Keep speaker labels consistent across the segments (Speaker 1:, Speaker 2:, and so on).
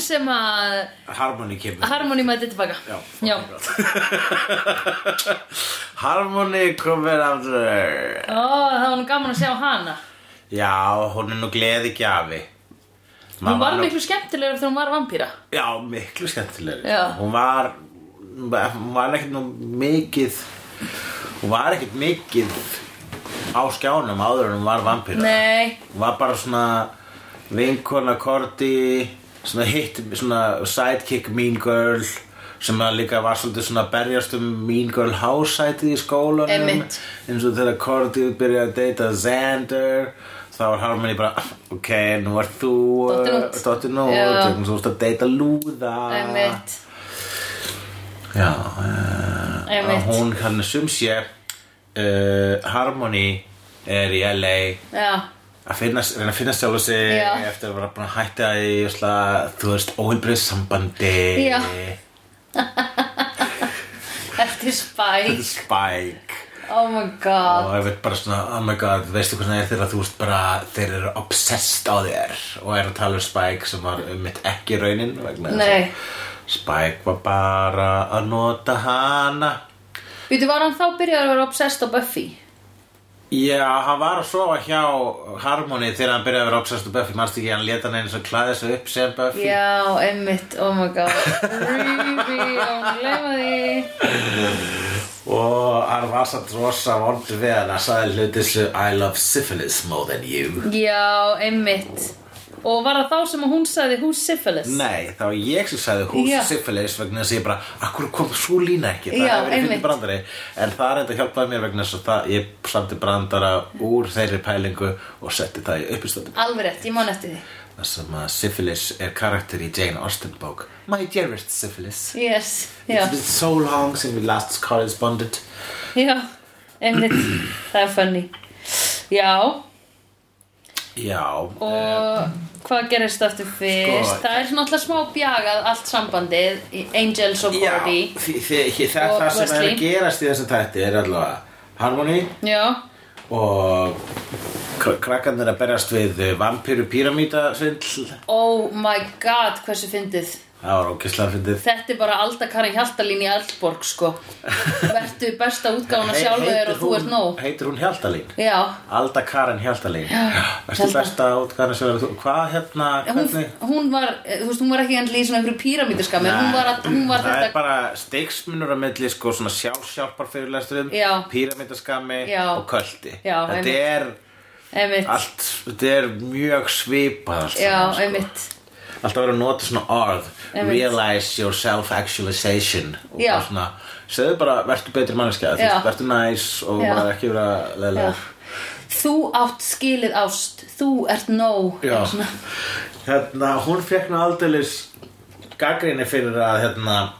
Speaker 1: sem að
Speaker 2: Harmony kemur
Speaker 1: Harmony mæti tilbaka
Speaker 2: Já,
Speaker 1: Ah. Já.
Speaker 2: Harmony komir aftur
Speaker 1: Ó, það var nú gaman að sjá hana
Speaker 2: Já, hún er nú gleði gjafi
Speaker 1: Hún var miklu skemmtilegur þegar hún var vampýra
Speaker 2: Já, miklu skemmtilegri
Speaker 1: Já.
Speaker 2: Hún var Hún var ekkert nú mikið Hún var ekkert mikið Á skjánum áður en hún var vampíra
Speaker 1: Nei,
Speaker 2: Hún var bara svona Vinkona Korti Svona hitt, svona sidekick Mean Girl sem að líka var svolítið svona að berjast um Mean Girl House-sætið í skólanum
Speaker 1: Einmitt.
Speaker 2: eins og þegar Korti byrjaði að deyta Xander þá var Harmony bara ok, nú er þú
Speaker 1: Dóttir
Speaker 2: eh,
Speaker 1: út.
Speaker 2: dóttir nú
Speaker 1: Já.
Speaker 2: út, þú veist að deyta lúða
Speaker 1: einmitt
Speaker 2: Já, uh,
Speaker 1: Einmitt.
Speaker 2: hún hann sum sé uh, Harmony er í LA
Speaker 1: Já,
Speaker 2: að finna, reyna að finna sjálf sig
Speaker 1: Já.
Speaker 2: eftir að vera búin að hætta í sla, þú veist, óheilbrið sambandi
Speaker 1: Já. eftir spæ
Speaker 2: Spike
Speaker 1: Oh my god
Speaker 2: og ég veit bara svona, oh my god, veistu hvernig það er þeirra þú veist bara, þeir eru obsessed á þér og er að tala um Spike sem var um mitt ekki raunin vegna þess að
Speaker 1: Nei.
Speaker 2: Spike var bara að nota hana
Speaker 1: Býtu, var hann þá byrjaður að vera obsessed á Buffy?
Speaker 2: Já, hann var að sofa hjá Harmony þegar hann byrjaði að vera obsessed á Buffy manstu ekki, hann leta hann einu og klæði sig upp sem Buffy
Speaker 1: Já, einmitt, oh my god Creepy, og hún gleyma því
Speaker 2: og hann var satt rosa vondur við hann að sagði hluti sem I love syphilis more than you
Speaker 1: Já, einmitt Og var það þá sem að hún sagði Who's syphilis?
Speaker 2: Nei, það var ég sem sagði hús
Speaker 1: Já.
Speaker 2: syphilis vegna þess að ég bara, akkur kom svo lína ekki það
Speaker 1: Já,
Speaker 2: hefur verið
Speaker 1: einmitt.
Speaker 2: fyrir brandari en það er þetta hjálpaði mér vegna þess að það, ég samti brandara úr þeirri pælingu og setti það í uppistöndum
Speaker 1: Alveg rétt, ég man eftir því
Speaker 2: þar sem að syphilis er karakter í Jane Austen bók My dearest syphilis
Speaker 1: Yes, já,
Speaker 2: It's been so long since we last corresponded
Speaker 1: já, einmitt Það er funny Já,
Speaker 2: Já,
Speaker 1: og hvað gerist aftur fyrst?
Speaker 2: Sko-
Speaker 1: það er svona alltaf smá bjagað allt sambandið í Angels of
Speaker 2: Já,
Speaker 1: Hardy
Speaker 2: því, því, því, það,
Speaker 1: Og
Speaker 2: það sem er
Speaker 1: Wesley.
Speaker 2: að gerast í þessum tætti er allavega Harmony
Speaker 1: Já,
Speaker 2: og kr- krakkarnir að berjast við vampíru píramítasvindl
Speaker 1: oh my god, hversu fyndið
Speaker 2: það var ógislega fyndið
Speaker 1: Þetta er bara Alda Karin Hjaltalín í Eldborg sko Vertu besta útgáfuna
Speaker 2: Hei-
Speaker 1: sjálfur þér
Speaker 2: heitir
Speaker 1: og þú ert
Speaker 2: hún-
Speaker 1: nóg
Speaker 2: Heitir hún Hjaltalín?
Speaker 1: Já,
Speaker 2: Alda Karen Hjaltalín Verstu
Speaker 1: Hjalta.
Speaker 2: besta útgarna sem verður þú Hvað hérna,
Speaker 1: hún,
Speaker 2: hvernig
Speaker 1: hún var eh, þú veist, hún var ekki endilega í svona einhverju píramítaskami hún var, að- hún var
Speaker 2: það er
Speaker 1: þetta
Speaker 2: bara steiksmunur á milli sko svona sjálfsjálpar fyrirlesturum
Speaker 1: Já.
Speaker 2: píramítaskami
Speaker 1: Já.
Speaker 2: og köldi
Speaker 1: Já,
Speaker 2: þetta
Speaker 1: einmitt.
Speaker 2: er
Speaker 1: einmitt,
Speaker 2: allt, þetta er mjög svipað allt
Speaker 1: já,
Speaker 2: saman, sko.
Speaker 1: einmitt
Speaker 2: alltaf verið að nota svona orð
Speaker 1: Einmitt.
Speaker 2: realize your self-actualization og
Speaker 1: Já.
Speaker 2: bara svona, segðu bara vertu betri manneskja, þú
Speaker 1: Já.
Speaker 2: veist, vertu næs og
Speaker 1: Já.
Speaker 2: bara ekki vera leðilega
Speaker 1: Þú átt skilið ást þú ert nóg
Speaker 2: Já,
Speaker 1: Svona.
Speaker 2: hérna, hún fekk nú aldeilis gaggrinni fyrir að hérna,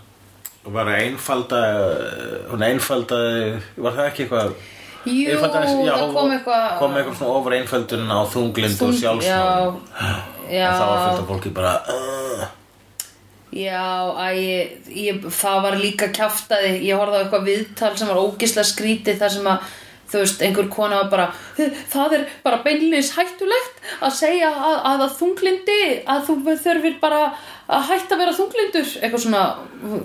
Speaker 2: var að einfalda hún einfaldaði var það ekki eitthvað
Speaker 1: Jú,
Speaker 2: Einfaldaði- já,
Speaker 1: það
Speaker 2: hún-
Speaker 1: kom eitthvað
Speaker 2: kom eitthvað svona ofur einföldun á þunglind og
Speaker 1: Þung-
Speaker 2: sjálfsmál
Speaker 1: Já, já
Speaker 2: og það var fullt af fólki bara uh,
Speaker 1: Já, æ, ég, ég, það var líka kjaftaði, ég horfði á eitthvað viðtal sem var ógislega skrítið þar sem að, þú veist, einhver kona var bara, "Þ- það er bara beinlis hættulegt að segja að, að, að þunglindi, að þú þurfir bara að hætta að vera þunglindur, eitthvað svona,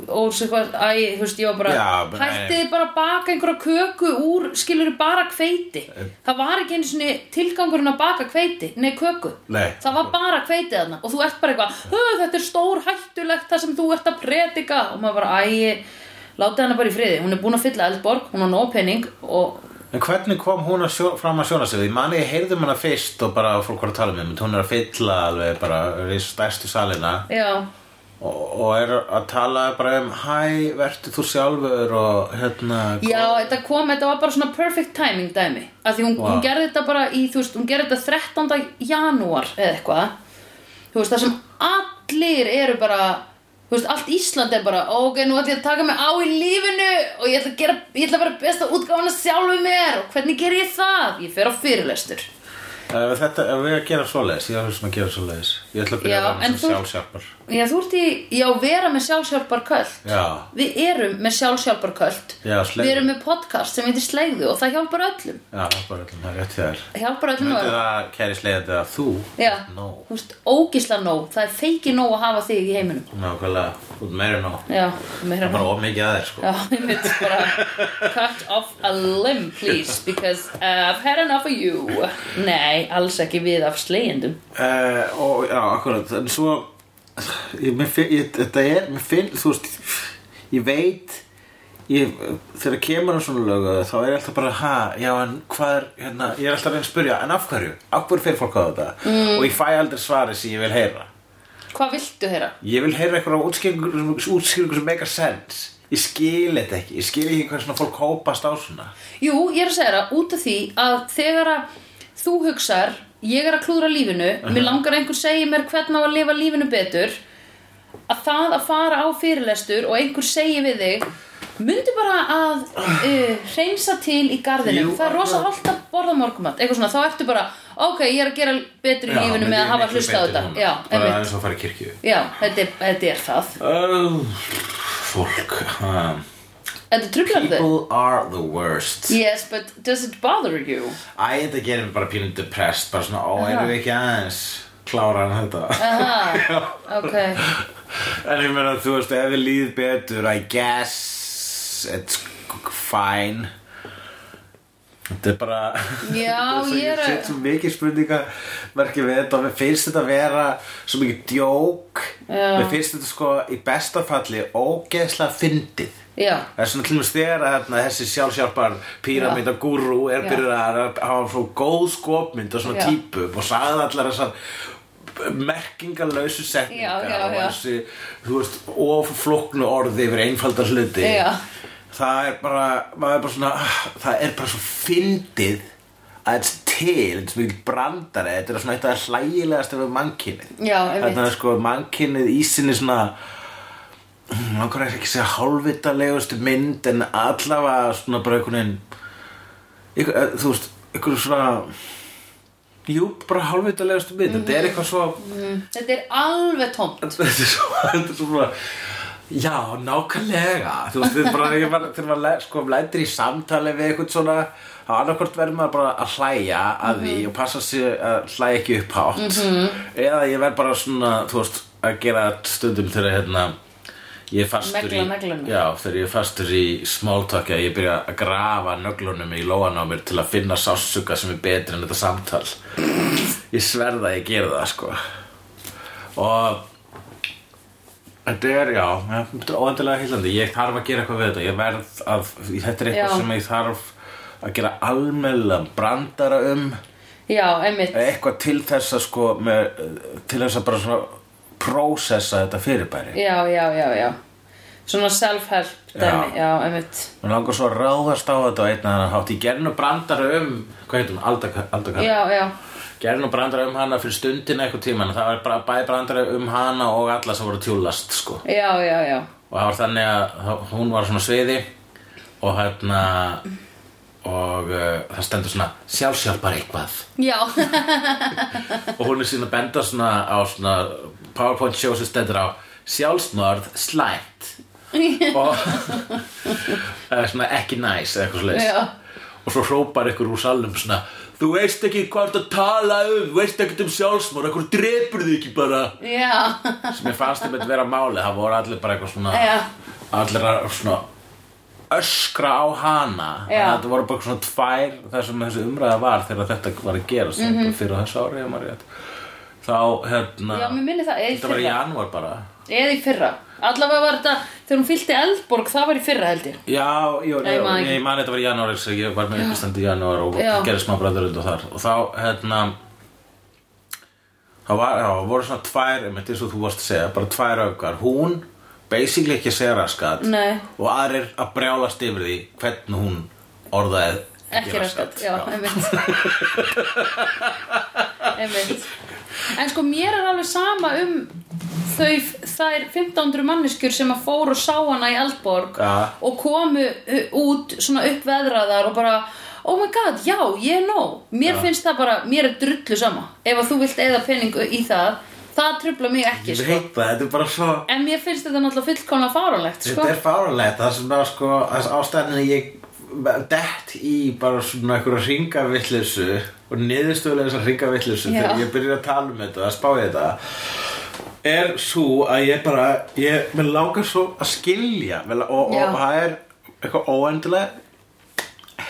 Speaker 1: og svo eitthvað, æ, þú veist, ég var bara,
Speaker 2: Já, bara-
Speaker 1: hættið bara að baka einhverja köku úr, skilur bara hveiti, það var ekki einu sinni tilgangurinn að baka hveiti, nei köku,
Speaker 2: Nei.
Speaker 1: það var bara kveitið þarna og þú ert bara eitthvað, "Hö, þetta er stór hættulegt það sem þú ert að predika og maður bara, æ, látið hana bara í friði hún er búin að fylla eldborg, hún á nóg pening og
Speaker 2: En hvernig kom hún að sjó, fram að sjóna sig? Ég mani, ég heyrðum hana fyrst og bara fólk var að tala um mig, menn hún er að fylla alveg bara í stærstu salina
Speaker 1: já,
Speaker 2: og, og er að tala bara um hæ, vertu þú sjálfur og hérna
Speaker 1: já, þetta kom þetta var bara svona perfect timing dæmi af því hún,
Speaker 2: Vá.
Speaker 1: hún gerði þetta bara í, þú veist, hún gerði þetta 13. janúar eða eitthvað þú veist, það sem allir eru bara þú veist, allt Ísland er bara ok, nú ætlum ég að taka mig á í lífinu og ég ætla að, gera, ég ætla að vera besta útgáfana sjálfu mér og hvernig ger ég það? Ég fer á fyrirlestur
Speaker 2: Uh, þetta, ef við erum að gera svoleiðis, ég er svona að gera svoleiðis. Ég ætla að byrja
Speaker 1: Já,
Speaker 2: að vera
Speaker 1: en
Speaker 2: með
Speaker 1: þú-
Speaker 2: sjálfsjálfar.
Speaker 1: Já, þú ert í, já, vera með sjálfsjálfbar köld
Speaker 2: Já,
Speaker 1: Við erum með sjálfsjálfbar köld
Speaker 2: já,
Speaker 1: Við erum
Speaker 2: sleið.
Speaker 1: með podcast sem heitir Slegðu og það hjálpar öllum
Speaker 2: Já, það er bara öllum, það er rétt hjá þér.
Speaker 1: Það hjálpar öllum
Speaker 2: Möndu
Speaker 1: öllum
Speaker 2: það, kæri sleiðandi, að þú,
Speaker 1: Já,
Speaker 2: no,
Speaker 1: þú veist, ógisla nóg Það er feiki nóg að hafa þig í heiminum
Speaker 2: nákvæmlega, út meira en nóg.
Speaker 1: Já, meira
Speaker 2: Það er bara of mikið að þér, sko.
Speaker 1: Já, ég myndi bara cut off a limb please because uh, I've had enough of you Nei, alls ekki við af slegjendum
Speaker 2: Uh, og já, akkurat, en svo ég, mér finn, ég, þetta er mér finn, þú veist ég veit ég, þegar kemur á svona lögu þá er ég alltaf bara, ha, já, en hvað er hérna, ég er alltaf að reyna að spyrja, en af hverju af hverju fyrir fólk á þetta
Speaker 1: Mm.
Speaker 2: og ég fæ aldrei svarið sem ég vil heyra
Speaker 1: Hvað viltu heyra?
Speaker 2: ég vil heyra eitthvað útskýringur sem, útskýringur sem make a sense ég skil þetta ekki, ég skil ekki hvað svona fólk hópast á svona
Speaker 1: Jú, ég er að segja það út af því að þegar að þú hugsar ég er að klúðra lífinu, mér langar að einhver segja mér hvernig á að lifa lífinu betur að það að fara á fyrirlestur og einhver segja við þig myndi bara að uh, reynsa til í garðinum,
Speaker 2: Ah. Jú,
Speaker 1: það er rosa
Speaker 2: akkurat.
Speaker 1: holdt að borða morgumat, eitthvað svona, þá ertu bara ok, ég er að gera betur í
Speaker 2: Já,
Speaker 1: lífinu
Speaker 2: myndi
Speaker 1: með
Speaker 2: ég
Speaker 1: að hafa
Speaker 2: miklu
Speaker 1: hlusta á
Speaker 2: betur
Speaker 1: þetta
Speaker 2: núna.
Speaker 1: já,
Speaker 2: bara
Speaker 1: einmitt,
Speaker 2: eins og að fara í kirkju
Speaker 1: já, þetta er, þetta er það
Speaker 2: uh, fólk um,
Speaker 1: þetta trublar þau
Speaker 2: People are the worst
Speaker 1: yes, but does it bother you?
Speaker 2: Æ, þetta gerir mig bara pínu depressed Bara svona, ó, erum við ekki aðeins Klára hann þetta
Speaker 1: aha, Ah, ok
Speaker 2: En ég meina, þú veist, ef við líð betur I guess It's fine Þetta er bara
Speaker 1: Já,
Speaker 2: Þetta er svo-
Speaker 1: ég er að-
Speaker 2: set svo mikið spurninga Merki við þetta og Mér finnst þetta vera svo mikið djók
Speaker 1: Já.
Speaker 2: Mér finnst þetta sko í besta falli Ógeðslega fyndið
Speaker 1: já,
Speaker 2: Það er svona til og þegar að hérna, þessi sjálfsjálpar píramíta guru er
Speaker 1: Já.
Speaker 2: byrjað að hafa svo góð skopmynd og svona
Speaker 1: Já.
Speaker 2: típu og sagði allar þessar merkingalösu setningar
Speaker 1: Já, já,
Speaker 2: og
Speaker 1: já.
Speaker 2: þessi, þú veist, oflóknu orði yfir einfaldar hluti
Speaker 1: Já.
Speaker 2: það er bara, maður er bara svona ah, það er bara svo fyndið að þetta er til, þetta er svo mikil brandari þetta er svona eitt af hlægilegast ef við mannkynið
Speaker 1: Já, einmitt.
Speaker 2: þannig að sko mannkynið í sinni svona hm, langar er ekki að segja hálfvitalegustu mynd en allavega svona bara einhvern veginn einhver, eh, þú veist, einhver svona jú, bara hálfvitalegustu mynd þetta
Speaker 1: Mhm.
Speaker 2: er eitthvað svo
Speaker 1: Mm. þetta er alveg tómt
Speaker 2: þetta er svo, þetta er svo bara já, nákvæmlega þú veist, þetta er bara, ég bara þegar maður le- sko, lætir í samtali við eitthvað svona þá annarkvort verður maður bara að hlæja að því og passa sig að hlæja ekki upp hátt eða ég verð bara svona þú veist, að gera stundum þegar hérna ég er fastur
Speaker 1: Negla
Speaker 2: í
Speaker 1: neglunum.
Speaker 2: já, þegar ég er fastur í smáltaki að ég byrja að grafa nöglunum í lóan á mér til að finna sássuga sem er betri en þetta samtal ég sverða að ég gera það sko og Þetta er, já, þetta er óendilega heilandi. Ég þarf að gera eitthvað við þetta. Ég verð að, þetta er eitthvað
Speaker 1: Já.
Speaker 2: sem ég þarf að gera almennilega brandara um.
Speaker 1: Já, einmitt,
Speaker 2: Eitthvað til þess að sko, með, til þess að bara svona prósessa þetta fyrirbæri.
Speaker 1: já, já, já, já Svona self-help dæmi, já, einmitt
Speaker 2: Mér langar svo að ráðast á þetta á einn að hátt. Ég gerði nú brandara um, hvað heitum, aldakar.
Speaker 1: Já, já,
Speaker 2: Gerði nú brandara um hana fyrir stundina eitthvað tíma. Það var bara bæði brandara um hana og alla sem voru að tjúlast, sko.
Speaker 1: já, já, já
Speaker 2: og það var þannig að hún var svona á sviði og hérna og uh, það stendur svona sjálfsjálpar eitthvað
Speaker 1: Já,
Speaker 2: og hún er síðan að benda svona á svona powerpoint show sem stendur á sjálfsmörð slæmt og eða svona ekki næs eða eitthvað
Speaker 1: Já.
Speaker 2: svoleiðis og svo hrópar ykkur úr salnum svona þú veist ekki hvað þú ert að tala um þú veist ekkert um sjálfsmörð, ekkur drepur þig ekki bara
Speaker 1: já,
Speaker 2: sem ég fannst einmitt vera máli það voru allir bara eitthvað svona
Speaker 1: Já.
Speaker 2: allir að svona öskra á hana þannig
Speaker 1: Já.
Speaker 2: að þetta voru bara svona tvær þar sem þessi umræða var þegar þetta var að gera
Speaker 1: Mhm.
Speaker 2: mm -hmm. fyrir þessu ári ef maður rétt þá hérna
Speaker 1: já, mér minni það, eða í
Speaker 2: þetta var í
Speaker 1: fyrra
Speaker 2: janúar bara
Speaker 1: Eða í fyrra, allavega var þetta Þegar hún fylgti Eldborg, það var í fyrra held ég
Speaker 2: Já, jú,
Speaker 1: Nei,
Speaker 2: jú,
Speaker 1: ég man
Speaker 2: ég
Speaker 1: ekki.
Speaker 2: man þetta var í janúar þess að ég var með uppstand í janúar og
Speaker 1: Já.
Speaker 2: gerði smá bræðurund og þar og þá, hérna þá var, já, voru svona tvær einmitt eins og þú varst að segja, bara tvær augar hún, basically ekki að segja raskat
Speaker 1: Nei.
Speaker 2: og aðrir að brjálast yfir því hvernig hún orðaði
Speaker 1: Ekki raskat, já, einmitt Einmitt En sko, mér er alveg sama um þau, þær 1500 manneskjur sem að fóru og sá hana í Eldborg
Speaker 2: Já.
Speaker 1: og komu u- út svona uppveðraðar og bara oh my god, já, ég er nóg mér finnst það bara, mér er drullu sama ef að þú vilt eða pening í það það trubla mig ekki,
Speaker 2: Ég
Speaker 1: sko
Speaker 2: veit það, þetta er bara svo
Speaker 1: en mér finnst þetta náttúrulega fullkomna fáránlegt, sko
Speaker 2: Þetta er fáralegt, það er svona sko, þess ástæðan að ég dett í bara svona einhverja ringavillisu og niðurstöðulega þessar ringavillisu
Speaker 1: Já.
Speaker 2: þegar ég byrja að tala um þetta, að spá í þetta er svo að ég bara ég, mér langar svo að skilja vel, og, og,
Speaker 1: Já.
Speaker 2: og það er eitthvað óendilega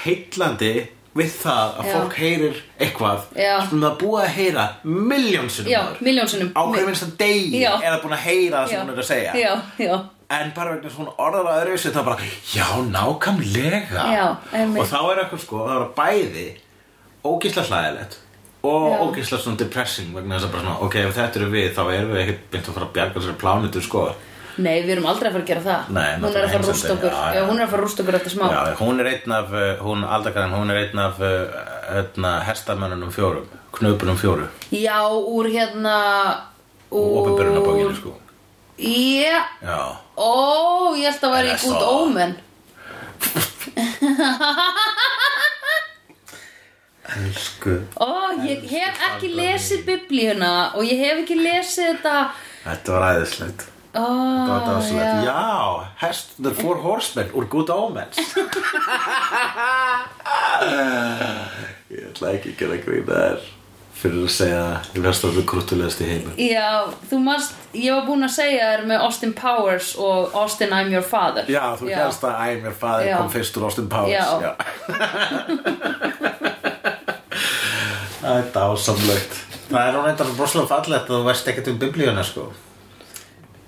Speaker 2: heitlandi við það að
Speaker 1: Já.
Speaker 2: fólk heyrir eitthvað
Speaker 1: Já.
Speaker 2: sem það er búið að heyra miljónsunum
Speaker 1: já, miljónsinnum
Speaker 2: á hverjum minnst að degi
Speaker 1: Já.
Speaker 2: er það búin að heyra það sem hún er að segja
Speaker 1: já, já,
Speaker 2: en bara vegna svona orðar að öðru það bara, já, nákvæmlega
Speaker 1: Já, einmitt.
Speaker 2: og þá er eitthvað sko það er bæði ógisla hlæðilegt
Speaker 1: Já.
Speaker 2: og ógisla svona depressing vegna þess að bara svona, ok, ef þetta eru við þá erum við ekkert beint að fara að bjarga þessari plánutu sko
Speaker 1: nei, við erum aldrei að fara að gera það
Speaker 2: Nei,
Speaker 1: hún er að fara að rústa
Speaker 2: náttúrulega
Speaker 1: okkur
Speaker 2: heimsendi, já,
Speaker 1: já,
Speaker 2: já.
Speaker 1: hún er að fara að rústa okkur eftir smá
Speaker 2: já, hún er einn af, uh, hún aldakarinn hún er einn af uh, hérna, hestamönnunum fjórum, knöpunum fjóru
Speaker 1: já, úr hérna
Speaker 2: og opinberunabókinu sko
Speaker 1: já,
Speaker 2: já,
Speaker 1: ó, ég held að væri
Speaker 2: Eða
Speaker 1: í gút
Speaker 2: svo.
Speaker 1: ómen
Speaker 2: elsku
Speaker 1: ó, ég hef ekki lesið biblíuna og ég hef ekki lesið þetta
Speaker 2: þetta var æðislegt
Speaker 1: ó,
Speaker 2: Það var dásalegt.
Speaker 1: já
Speaker 2: Já, hest, the four horsemen úr Good Omens Ég ætla ekki að gera grína þær fyrir að segja ég verðst að þú krúttulegast í heimur
Speaker 1: Já, þú manst, ég var búin að segja þér með Austin Powers og Austin I'm Your Father
Speaker 2: Já, þú gerst að æg mér fæðir
Speaker 1: Já.
Speaker 2: kom fyrst úr Austin Powers
Speaker 1: Já.
Speaker 2: Það er dásamlegt Það er hún eitthvað broslega fallegt að þú veist ekkert um biblíuna sko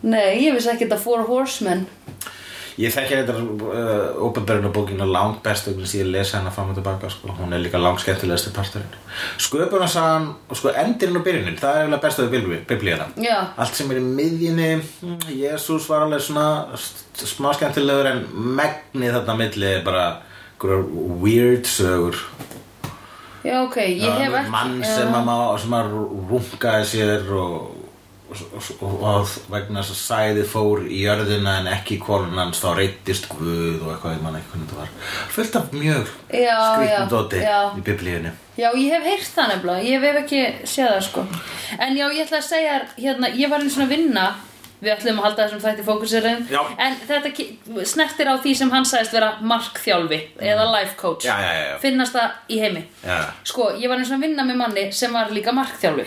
Speaker 1: Nei, ég vissi ekki þetta Four Horsemen
Speaker 2: Ég þekki þetta uh, opanbyrjuna bókina langt best og ég lesa hana fram og tilbaka sko. hún er líka langt skemmtilegasti parturinn sköpunarsagan og sko endurinn og byrjunin það er eiginlega best af biblíðina
Speaker 1: Já.
Speaker 2: allt sem er í miðjunni mm, Jésús var alveg svona st- smá skemmtilegur en megni þarna á milli er bara einhverjar weird sögur
Speaker 1: Já, ok, ég hef ekki
Speaker 2: mann
Speaker 1: já.
Speaker 2: sem að, má, sem að rungaði sér og, og, og, og vegna þess að sæði fór í jörðina en ekki konun hans þá reytist guð og eitthvað, ég man ekki hvernig það var fullt af mjög
Speaker 1: Já, já,
Speaker 2: skrýtnum dóti
Speaker 1: já.
Speaker 2: í biblíunni
Speaker 1: Já, ég hef heyrt það nefnilega, ég hef ekki séð það sko En já, ég ætla að segja, þér, hérna, ég var einn svona vinna Við ætlum að halda þessum þætti fókusirinn
Speaker 2: Já.
Speaker 1: En þetta ki- snertir á því sem hann sagðist vera markþjálfi Eða life coach
Speaker 2: Mm. Já, já, já, já.
Speaker 1: Finnast það í heimi
Speaker 2: Já.
Speaker 1: Sko, ég var eins og að vinna með manni sem var líka markþjálfi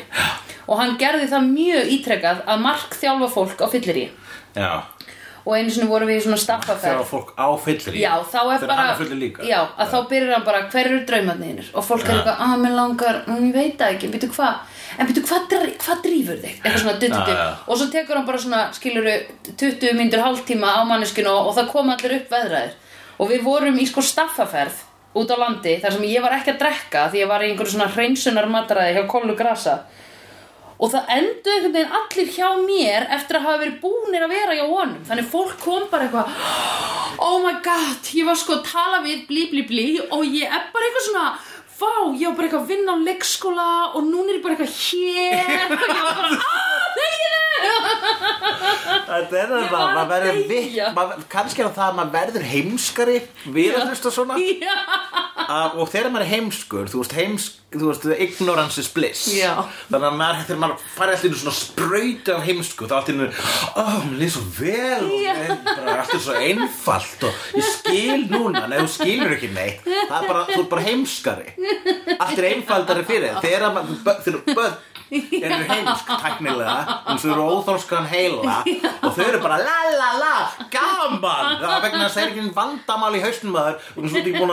Speaker 1: Og hann gerði það mjög ítrekað að markþjálfa fólk á fyllir í
Speaker 2: já
Speaker 1: Og einu sinni vorum við í svona
Speaker 2: þegar
Speaker 1: staffaferð
Speaker 2: fólk á fyllir í
Speaker 1: Já, þá er
Speaker 2: þegar
Speaker 1: bara
Speaker 2: hann er fyllir líka
Speaker 1: Já, að þá byrjar hann bara hverju draumarniðinir Og fólk er eitthvað, að mér langar, mm, ég veit það ekki, býtu hvað En býtu hvað dr- hvað drífur þig? Eitthvað svona duttutu
Speaker 2: Já, já.
Speaker 1: Og svo tekur hann bara svona, skiluru, 20 myndur hálftíma á manneskinu og, og það kom allir upp veðraðir Og við vorum í sko staffaferð út á landi Þar sem ég var ekki að drekka því ég var í einhverju svona hreinsunar mataræði hjá Kollu Grasa Og það endur einhvern veginn allir hjá mér eftir að hafa verið búnir að vera hjá honum. Þannig fólk kom bara eitthvað, oh my god, ég var sko að tala við blí blí blí og ég er bara eitthvað svona, vá, ég var bara eitthvað að vinna á leikskóla og núna er ég bara eitthvað hér og ég var bara, aah, þegiðu!
Speaker 2: Þetta er það,
Speaker 1: Ég var að
Speaker 2: maður verður
Speaker 1: deyja.
Speaker 2: vitt maður- Kannski er það að maður verður heimskari við að hlusta svona að, og þegar maður er heimskur þú veist, heimsk, þú veist, ignorance is bliss
Speaker 1: Já.
Speaker 2: þannig að maður, þegar maður farið allir svona sprauta á heimsku þá allir, ó, mér líður svo vel og
Speaker 1: Já.
Speaker 2: mér er bara allir svo einfalt og ég skil núna, nei, þú skilur ekki neitt það er bara, þú er bara heimskari allt er einfaldari fyrir þér. þegar maður, bö- þegar börn eru heimsk tæknilega eins og þau eru óþórskan heila og þau eru bara la la la gaman það er vegna að það er ekki vandamál í hausnum að þau og svo þau búin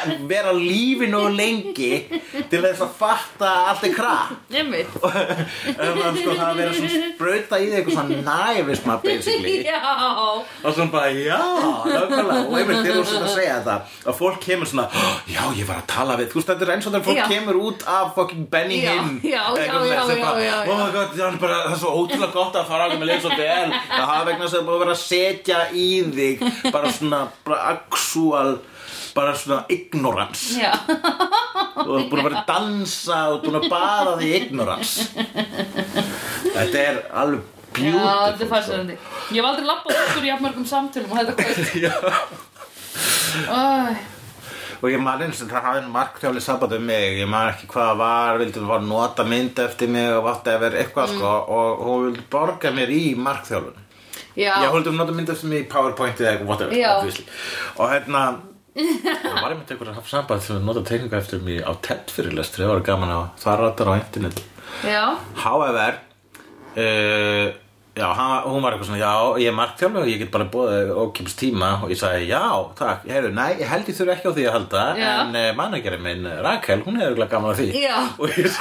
Speaker 2: að vera á lífinu og lengi til þess að fatta að allt er krakk
Speaker 1: Nefnir.
Speaker 2: og það sko, það er verið svona sprauta í þig eitthvað svona næfisma basically
Speaker 1: Já.
Speaker 2: og svona bara, já, nákvæmlega og einmitt þegar þú svona að segja þetta að fólk kemur svona, "Ó, já, ég var að tala við þú veist, þetta er eins og þegar fólk
Speaker 1: Já.
Speaker 2: kemur út af fucking Benny
Speaker 1: Já,
Speaker 2: Hinn
Speaker 1: já, já,
Speaker 2: eitthvað
Speaker 1: já,
Speaker 2: sem
Speaker 1: já,
Speaker 2: bara,
Speaker 1: já, já.
Speaker 2: oh my god, það er bara það er svo ótrúlega gott að fara alveg með leið svo vel það hafa vegna þess að það er búið að vera að setja í þig bara svona, bara actual bara svona ignorance
Speaker 1: Já.
Speaker 2: og þú ert búin að vera að dansa og búin að baða því í ignorance þetta er alveg
Speaker 1: Já,
Speaker 2: beautiful sko.
Speaker 1: þetta er fæsarandi. Ég hef aldrei labbað út úr jafnmörgum samtölum og þetta kvöld.
Speaker 2: Já.
Speaker 1: Æ.
Speaker 2: og ég man eins og það hafði marktjáli sabat um mig ég man ekki hvað það var, vildi bara nota mynd eftir mig og whatever, eitthvað sko
Speaker 1: Mm.
Speaker 2: og hún vildi borga mér í marktjálun
Speaker 1: Já,
Speaker 2: ég holdi um nota mynd eftir mig í powerpointi eða eitthvað, whatever,
Speaker 1: Já.
Speaker 2: obviously og hérna það var einmitt einhver að hafa samband sem nota teikninga eftir mig á TED fyrirlestri, það var gaman á það ratar á internet
Speaker 1: já,
Speaker 2: However uh, Já, hann, hún var eitthvað svona Já, ég er marktjálfi og ég get bara búið ókipst tíma og ég sagði, já, takk heyrðu, nei, ég held ég þurfi ekki á því að halda
Speaker 1: Já.
Speaker 2: en uh, mannagjarinn minn, eh, Rakel, hún er eitthvað gaman að því
Speaker 1: Já.
Speaker 2: og, ég,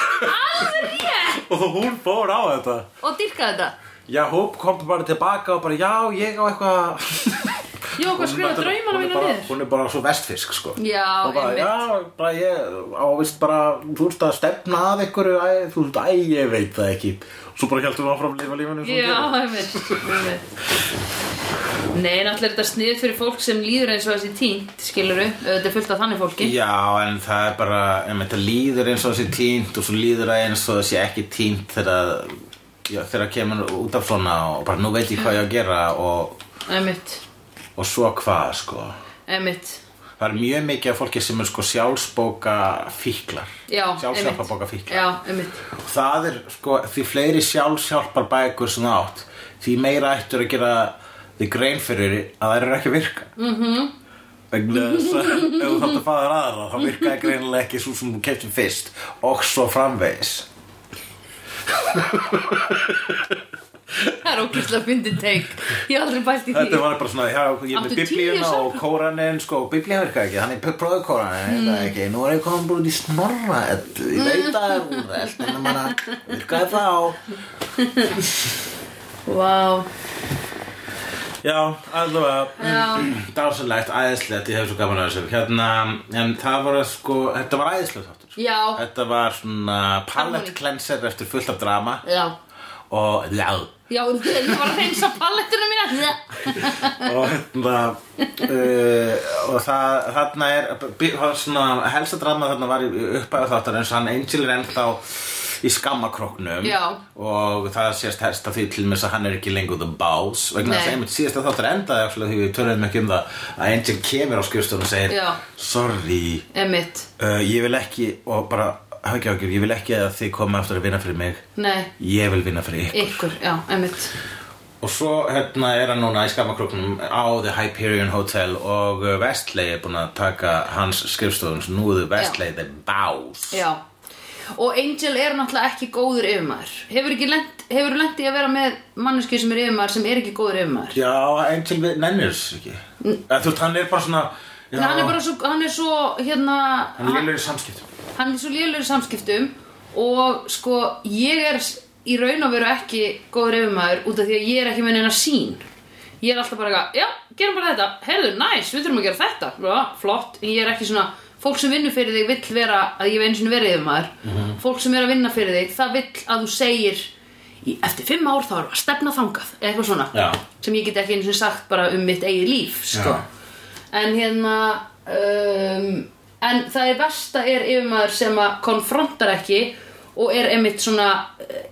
Speaker 2: og hún fór á þetta
Speaker 1: og dyrka þetta
Speaker 2: Já, hún kom bara tilbaka og bara, já, ég á eitthvað
Speaker 1: Ég var okkur að skrifa
Speaker 2: Hún er bara-
Speaker 1: draumana
Speaker 2: hún er
Speaker 1: mína
Speaker 2: bara-
Speaker 1: niður.
Speaker 2: Hún er bara svo vestfisk, sko
Speaker 1: Já,
Speaker 2: Og bara,
Speaker 1: einmitt.
Speaker 2: Já, bara ég á vist bara Þú ert að stefna að einhverju æ, Þú ert, æ, ég veit það ekki Svo bara hjæltum við áfram að lifa lífinu eins og hún
Speaker 1: Já,
Speaker 2: gerir.
Speaker 1: einmitt, einmitt. Nei, náttúrulega er þetta snið fyrir fólk sem líður eins og þessi tínt, skiluru Þetta er fullt af þannig fólki
Speaker 2: Já, en það er bara em, Þetta líður eins og það sé tínt Og svo líður það eins og það sé ekki tínt Þegar já, þegar það kemur út af svona Og bara, nú veit ég hvað ég á að gera Og,
Speaker 1: Einmitt,
Speaker 2: og svo hvað, sko
Speaker 1: einmitt
Speaker 2: Það er mjög mikið af fólki sem er sko sjálfsbóka fíklar
Speaker 1: Já,
Speaker 2: Sjálfshjálparbóka
Speaker 1: einmitt.
Speaker 2: fíklar
Speaker 1: Já, einmitt
Speaker 2: það er sko því fleiri sjálfshjálpar bækur sem þú átt því meira ættur að gera því grein fyrir að það eru ekki að virka mm
Speaker 1: Mhm.
Speaker 2: -hmm. vegna þess að ef þú þátt að faða aðra þá virkaði greinilega ekki svo sem þú keftum fyrst og svo framvegis
Speaker 1: Það er ógæslega fyndið teik Ég hef aldrei bælt í því
Speaker 2: þetta var bara svona, já, ég er
Speaker 1: Áttu
Speaker 2: með
Speaker 1: tíu
Speaker 2: biblíuna og
Speaker 1: sjálfshjálp-
Speaker 2: kóranin sko, biblíu virkaði ekki, þannig prófið kóranin mm. ekki, nú er ég komin bara út í snorra ég veit að það er úrveld en manna, virkaði þá
Speaker 1: Vá,
Speaker 2: Já, allavega
Speaker 1: Já.
Speaker 2: Dásalegt, æðislegt, ég hef svo gaman að þessu Hérna, en það var sko Þetta var æðislegt þáttur sko.
Speaker 1: já,
Speaker 2: Þetta var svona palette cleanser eftir fullt af drama
Speaker 1: já
Speaker 2: Og já
Speaker 1: Já, ég var að reynsa pallettuna mína
Speaker 2: Og hérna uh, Og það, þarna er bí- það var svona, Helsta drama þarna var uppæðu þáttur En hann Angel er ennþá í skammakróknum
Speaker 1: Já.
Speaker 2: og það sést helst að því til með að hann er ekki lengur the boss
Speaker 1: Nei.
Speaker 2: vegna þess að einmitt síðast að þáttur endaði actually, því við töluðum ekki um það að Angel kemur á skrifstofun og segir
Speaker 1: Já.
Speaker 2: sorry,
Speaker 1: Einmitt,
Speaker 2: uh, ég vil ekki og bara, hafa ekki ákjör, ég vil ekki að þið koma aftur að vinna fyrir mig
Speaker 1: nei,
Speaker 2: ég vil vinna fyrir ykkur
Speaker 1: ykkur, já, einmitt
Speaker 2: og svo hérna er hann núna í skamakróknum á The Hyperion Hotel og uh, Westley er búin að taka hans skrifstofun svo nú er Westley the boss
Speaker 1: Já Og Angel er náttúrulega ekki góður yfirmaður Hefur ekki lent, hefur lent í að vera með manneski sem er yfirmaður sem er ekki góður yfirmaður
Speaker 2: Já, Angel við nennir þessu ekki Eða, Þú veist, hann er bara svona já,
Speaker 1: En hann er bara svo, hann er svo hérna
Speaker 2: Hann er lélegur í samskiptum
Speaker 1: hann er svo lélur í samskiptum og sko ég er s- í raun og veru ekki góður yfirmaður út af því að ég er ekki með neina sín ég er alltaf bara eitthvað, já, gerum bara þetta heyrðu, næs, nice, við þurfum að gera þetta Bra, flott, en ég er ekki svona fólk sem vinnur fyrir þig vill vera að ég hef einu sinni verið yfirmaður fólk sem er að vinna fyrir þig það vill að þú segir í, eftir fimm ár þá erum við að stefna þangað eða eitthvað svona
Speaker 2: Já.
Speaker 1: sem ég get ekki einu sinni sagt bara um mitt eigið líf sko.
Speaker 2: Já.
Speaker 1: en hérna um, en það er versta er yfirmaður sem að konfrontar ekki og er einmitt svona eh,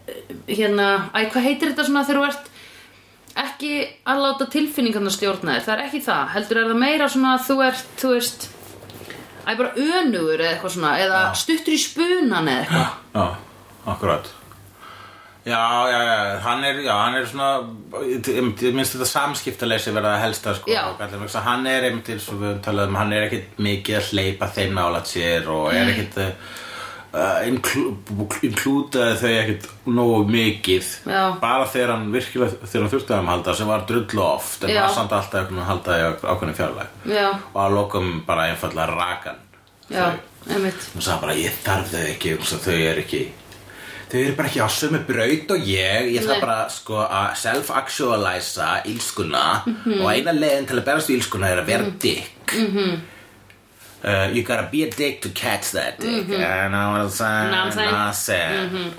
Speaker 1: hérna, æ, hvað heitir þetta svona þegar þú ert ekki að láta tilfinningarna stjórna þér, það er ekki það heldur er það meira svona að þú ert, þú veist æ, bara önugur eða eitthvað svona, eða stuttur í spunan eða eitthvað
Speaker 2: Já, akkurat Já, já, já, hann er, já, hann er svona ég- ég ég minnst þetta samskiptaleysi verða að helsta sko,
Speaker 1: Já.
Speaker 2: og gallar, vegna þess að hann er einmitt eins og við höfum talað um, hann er ekkit mikið að hleypa þeim nálat sér og
Speaker 1: Mm.
Speaker 2: er ekkit uh, inklútaði þau ekkit nógu mikið
Speaker 1: Já.
Speaker 2: bara þegar hann virkilega þegar hann þurfti að um halda sem var drullu oft en
Speaker 1: Já.
Speaker 2: var samt alltaf einhvern veginn að halda í ák- ákveðinu fjarlæg
Speaker 1: já,
Speaker 2: og að lokum bara einfallega rakan
Speaker 1: já, einmitt
Speaker 2: Hún sagði bara, ég þarf þau ekki, hún sagði, þau eru ekki Þau eru bara ekki á sömu braut og ég Ég
Speaker 1: Nei.
Speaker 2: þarf bara sko, að self-actualiza ílskuna Og eina leiðin til að berast við ílskuna er að vera dick mm You gotta be a dick to catch that dick I know what I'm saying
Speaker 1: Know what I'm saying?
Speaker 2: I'm saying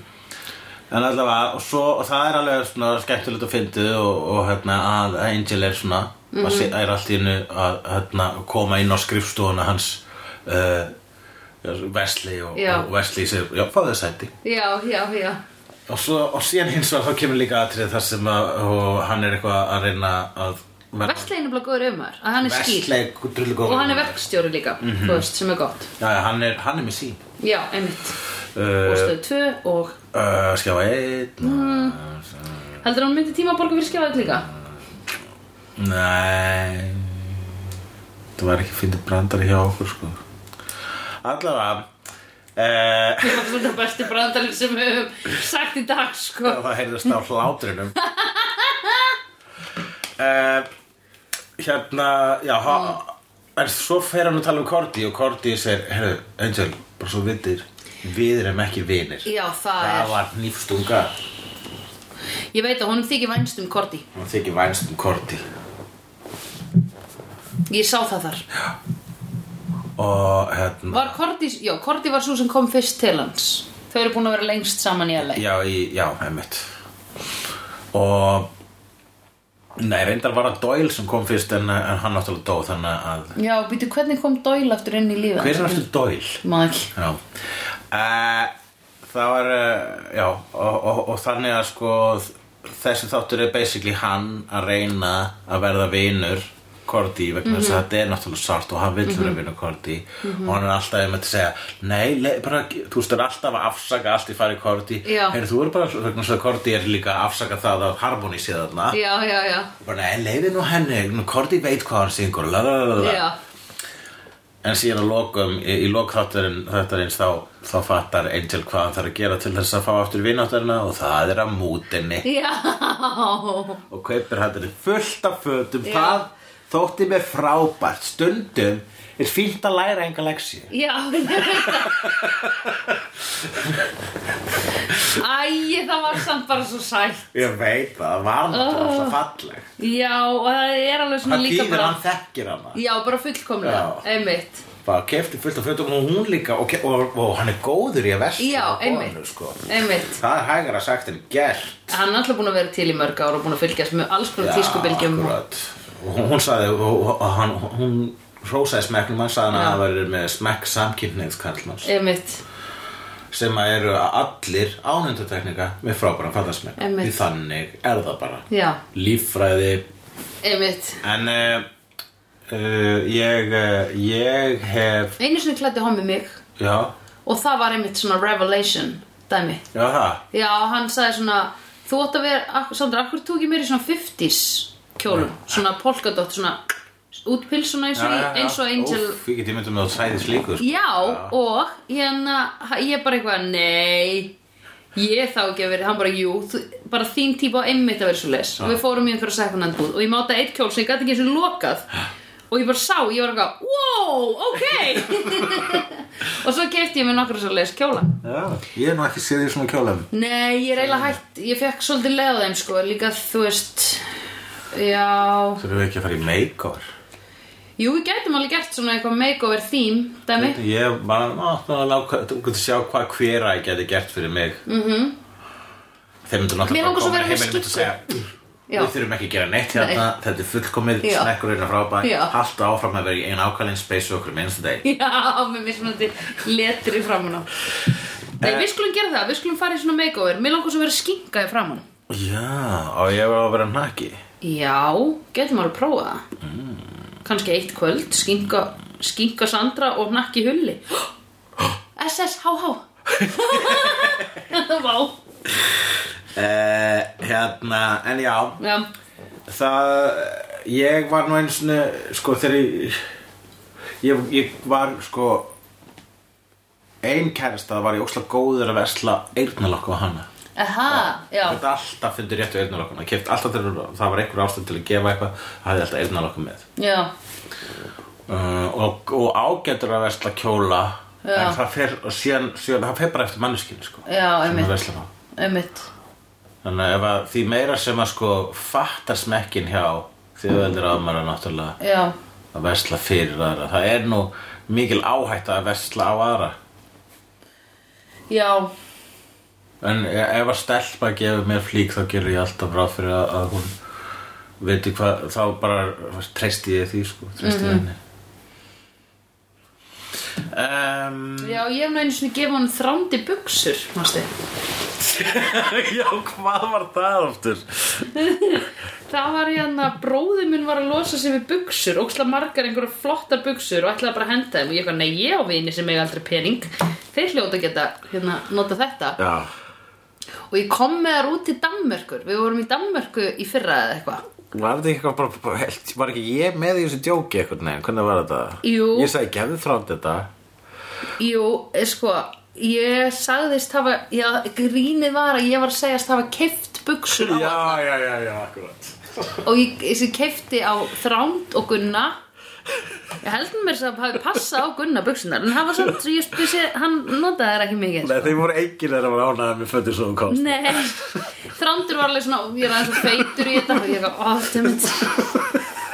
Speaker 2: En allavega, og, svo, og það er alveg svona skemmtilegt að fyndið og, og hérna að Angel er svona
Speaker 1: Mhm.
Speaker 2: mm -hmm. er allt í hennu að hérna, koma inn á skrifstofuna hans uh, Wesley og,
Speaker 1: Já.
Speaker 2: og Wesley sér, já, fáðu sæti
Speaker 1: já, já, já
Speaker 2: og, svo, og síðan hins vegar þá kemur líka atrið þar sem að, og hann er eitthvað að reyna að
Speaker 1: Vestlei er nefnilega góður öfumar að hann er skýr
Speaker 2: Vestleik, drullu góð
Speaker 1: og hann er verkstjóri líka þú
Speaker 2: Mhm.
Speaker 1: veist, sem er gott
Speaker 2: Já, já, hann er, hann er með sín
Speaker 1: já, einmitt og
Speaker 2: uh,
Speaker 1: stöð 2 og
Speaker 2: uh, Skjá einn
Speaker 1: Mm.
Speaker 2: eh,
Speaker 1: heldur hann myndi tíma að borga fyrir skjáðið líka
Speaker 2: Nei Það var ekki fyndið brandari hjá okkur sko Allavega uh,
Speaker 1: það er svona besti brandarinn sem við höfum sagt í dag sko
Speaker 2: Það heyrðast á hlátrinum uh, Hérna Já ha,
Speaker 1: Mm.
Speaker 2: En svo fer hann að tala um Korti Og Korti segir, heyrðu, Angel Bara svo vittir, við erum ekki vinir
Speaker 1: já, það
Speaker 2: Það
Speaker 1: er
Speaker 2: var nýfstunga
Speaker 1: ég veit að honum þykir vænst um Korti
Speaker 2: Hann þykir vænst um Korti
Speaker 1: ég sá það þar
Speaker 2: Og hérna
Speaker 1: var Korti já, Korti var svo sem kom fyrst til hans þau eru búin að vera lengst saman í LA
Speaker 2: Já, í, já, einmitt Og Nei, reyndar var það Doyle sem kom fyrst en, en hann náttúrulega dó þannig að
Speaker 1: já, býtu hvernig kom Doyle aftur inn í lífið
Speaker 2: Hver er náttúrulega Doyle?
Speaker 1: maður ekki
Speaker 2: Já uh, Það var, uh, já og, og, og þannig að sko þessi þáttur er basically hann að reyna að verða vinur Korti vegna þess að
Speaker 1: Mhm.
Speaker 2: þetta er náttúrulega sárt og hann vill vera vinur Korti og hann er alltaf einmitt að segja nei, le, bara, þú veist, það er alltaf að afsaka allt í fari Korti
Speaker 1: Já.
Speaker 2: Heyrðu, þú er bara, vegna þess að Korti er líka að afsaka það að Harmony sé þarna
Speaker 1: já, já, já,
Speaker 2: bara, nei, leiði nú henni, Korti veit hvað hann syngur la, la, la, la, la.
Speaker 1: já.
Speaker 2: En síðan að lokum, í, í lokþáttarinn þáttarins þá, þá fattar Angel hvað hann þarf að gera til þess að fá aftur vináttarina og það er að mútinni
Speaker 1: Já,
Speaker 2: og kaupir hættir fullt af fötum,
Speaker 1: Já.
Speaker 2: það þótti mér frábært, stundum er fínt að læra enga leksi.
Speaker 1: já, ég veit það Æ, það var samt bara svo sætt
Speaker 2: Ég veit það, það var náttúrulega svo falleg.
Speaker 1: Já, og það Ah. er alveg svona
Speaker 2: Það
Speaker 1: líka
Speaker 2: þýðir
Speaker 1: bara
Speaker 2: hann þekkir hana.
Speaker 1: Já, bara fullkomlega,
Speaker 2: Já.
Speaker 1: einmitt
Speaker 2: Bara kefti fullt af fötum og hún líka og, og, og, og hann er góður í að vestu.
Speaker 1: Já, einmitt.
Speaker 2: Sko.
Speaker 1: Einmitt,
Speaker 2: Það er hægara sagt en gert.
Speaker 1: hann er alltaf búin að vera til í mörg ára og búin að fylgjast með alls konar
Speaker 2: Já,
Speaker 1: tískubilgjum
Speaker 2: akkurat. Og hún, hún sagði og, og, og hann, hún hrósaði smekknum hann sagði hann að
Speaker 1: Já.
Speaker 2: það verður með smekk samkynneið kallmanns
Speaker 1: Einmitt,
Speaker 2: sem að eru allir ánendateknika með frábæran fattarsmekk
Speaker 1: Einmitt.
Speaker 2: því þannig er það bara
Speaker 1: já,
Speaker 2: líffræði
Speaker 1: einmitt
Speaker 2: en uh, uh, ég uh, ég hef
Speaker 1: Einu sinni klæddi hann með mig
Speaker 2: já,
Speaker 1: og það var einmitt svona revelation dæmi
Speaker 2: já það
Speaker 1: Já, hann sagði svona Þú átt að vera, ak- Sandra, akkur tók ég mér í svona 50s kjólum Svona polkadott, svona útpilsuna eins og,
Speaker 2: Já,
Speaker 1: í-
Speaker 2: já, já.
Speaker 1: eins og Angel
Speaker 2: Úff, ég get ég myndum að það sæði slíku sko.
Speaker 1: Já, og hérna, ha- ég bara eitthvað, nei Ég þá ekki að vera, hann bara, jú þú, Bara þín típa á einmitt að vera svo les Og við fórum í einhverja second hand búð Og ég máta eitt kjól sem ég gæti ekki eins og lokað Og ég bara sá, ég var eitthvað, wow, ok Og svo kefti ég mér nokkra svo les kjóla
Speaker 2: já, ég er nú ekki séð því svona kjólum
Speaker 1: Nei, ég er eiginlega hægt, ég fekk svolítið leið á þeim sko, líka þú veist, já,
Speaker 2: þurfum við ekki að fara í makeover
Speaker 1: jú við gætum alveg gert svona eitthvað makeover theme, dæmi,
Speaker 2: Ég bara, ná, ná, ná, þú getur sjá hvað hvera ég geti gert fyrir mig mm -hmm. Þeir myndu
Speaker 1: Mhm. Mér
Speaker 2: náttúrulega
Speaker 1: langar svo að vera með
Speaker 2: heimilinu myndu
Speaker 1: skinku.
Speaker 2: segja
Speaker 1: Já.
Speaker 2: Við þurfum ekki að gera neitt hérna, þetta er fullkomið,
Speaker 1: Já.
Speaker 2: snekkurinn og frábæð
Speaker 1: Já.
Speaker 2: Haltu áfram að vera í einu ákvæðin space og okkur um minnstu deg
Speaker 1: já, með mismunandi letri framan á. Nei, við skulum gera það, við skulum fara í svona makeover, mér langar svo að vera skinkaði framan.
Speaker 2: Já, og ég var að vera nakki
Speaker 1: Já, getum alveg að prófa það. Mm. Kanski eitt kvöld, skinka, skinka Sandra og nakki hulli. SSHH. Vá,
Speaker 2: uh, Hérna, en já
Speaker 1: já,
Speaker 2: það ég var nú eins og sko þegar ég, ég, ég var sko ein kærasta var ég óslega góður að vesla eyrnalokku á hana
Speaker 1: aha, já.
Speaker 2: þetta alltaf fundur réttu eyrnalokkuna keft alltaf þegar það var einhver ástæð til að gefa eitthvað það hafði alltaf eyrnalokku með
Speaker 1: Já,
Speaker 2: uh, og, og ágætur að vesla kjóla
Speaker 1: Já.
Speaker 2: en það fer, og síðan, síðan það fer bara eftir manneskinu sko
Speaker 1: Já,
Speaker 2: sem
Speaker 1: einmitt.
Speaker 2: að vesla þá
Speaker 1: einmitt
Speaker 2: Þannig að ef að því meira sem að sko fattar smekkin hjá þjóðveldir ámara náttúrulega
Speaker 1: Já,
Speaker 2: að vesla fyrir aðra. Það er nú mikil áhætta að vesla á aðra.
Speaker 1: já,
Speaker 2: En e, ef að stelpa gefur mér flík þá gerur ég alltaf ráð fyrir að, að hún veitir hvað, þá bara treysti ég því sko, treysti mm henni. Um,
Speaker 1: já, ég hef nú einu sinni gefa hann þrándi buksur, mástu
Speaker 2: Já, hvað var það aftur?
Speaker 1: Það var hérna, bróði minn var að losa sig við buksur, óksla margar einhverja flottar buksur og ætlaði bara að henda þeim og ég eitthvað, nei, ég á vini sem eiga aldrei pening, þeir hljóta að geta, hérna, nota þetta.
Speaker 2: Já,
Speaker 1: Og ég kom með þar út til Danmörkur, við vorum í Danmörku í fyrra eða eitthvað.
Speaker 2: var þetta ekki eitthvað bara, bara held, var ekki ég með í þessu djóki eitthvað neginn, hvernig var þetta?
Speaker 1: Jú.
Speaker 2: Ég sagði, gefðu þrátt þetta.
Speaker 1: Jú, eh, sko, ég sagðist hafa, já, grínið var að ég var að segjast hafa keft buksur á
Speaker 2: Já, já, já, já, akkurat.
Speaker 1: og ég, ég sem kefti á Þránd og Gunna ég held mér sem hafi passað á Gunna buksunar en hann var samt, ég spysi, hann notaði þær ekki mikið
Speaker 2: Nei, þeir voru enginn þegar að vera ánæðið með fötur svo um komst.
Speaker 1: Nei, Þrándur var alveg svona ég er aðeins og feitur í þetta og ég eitthvað, ó, dæmið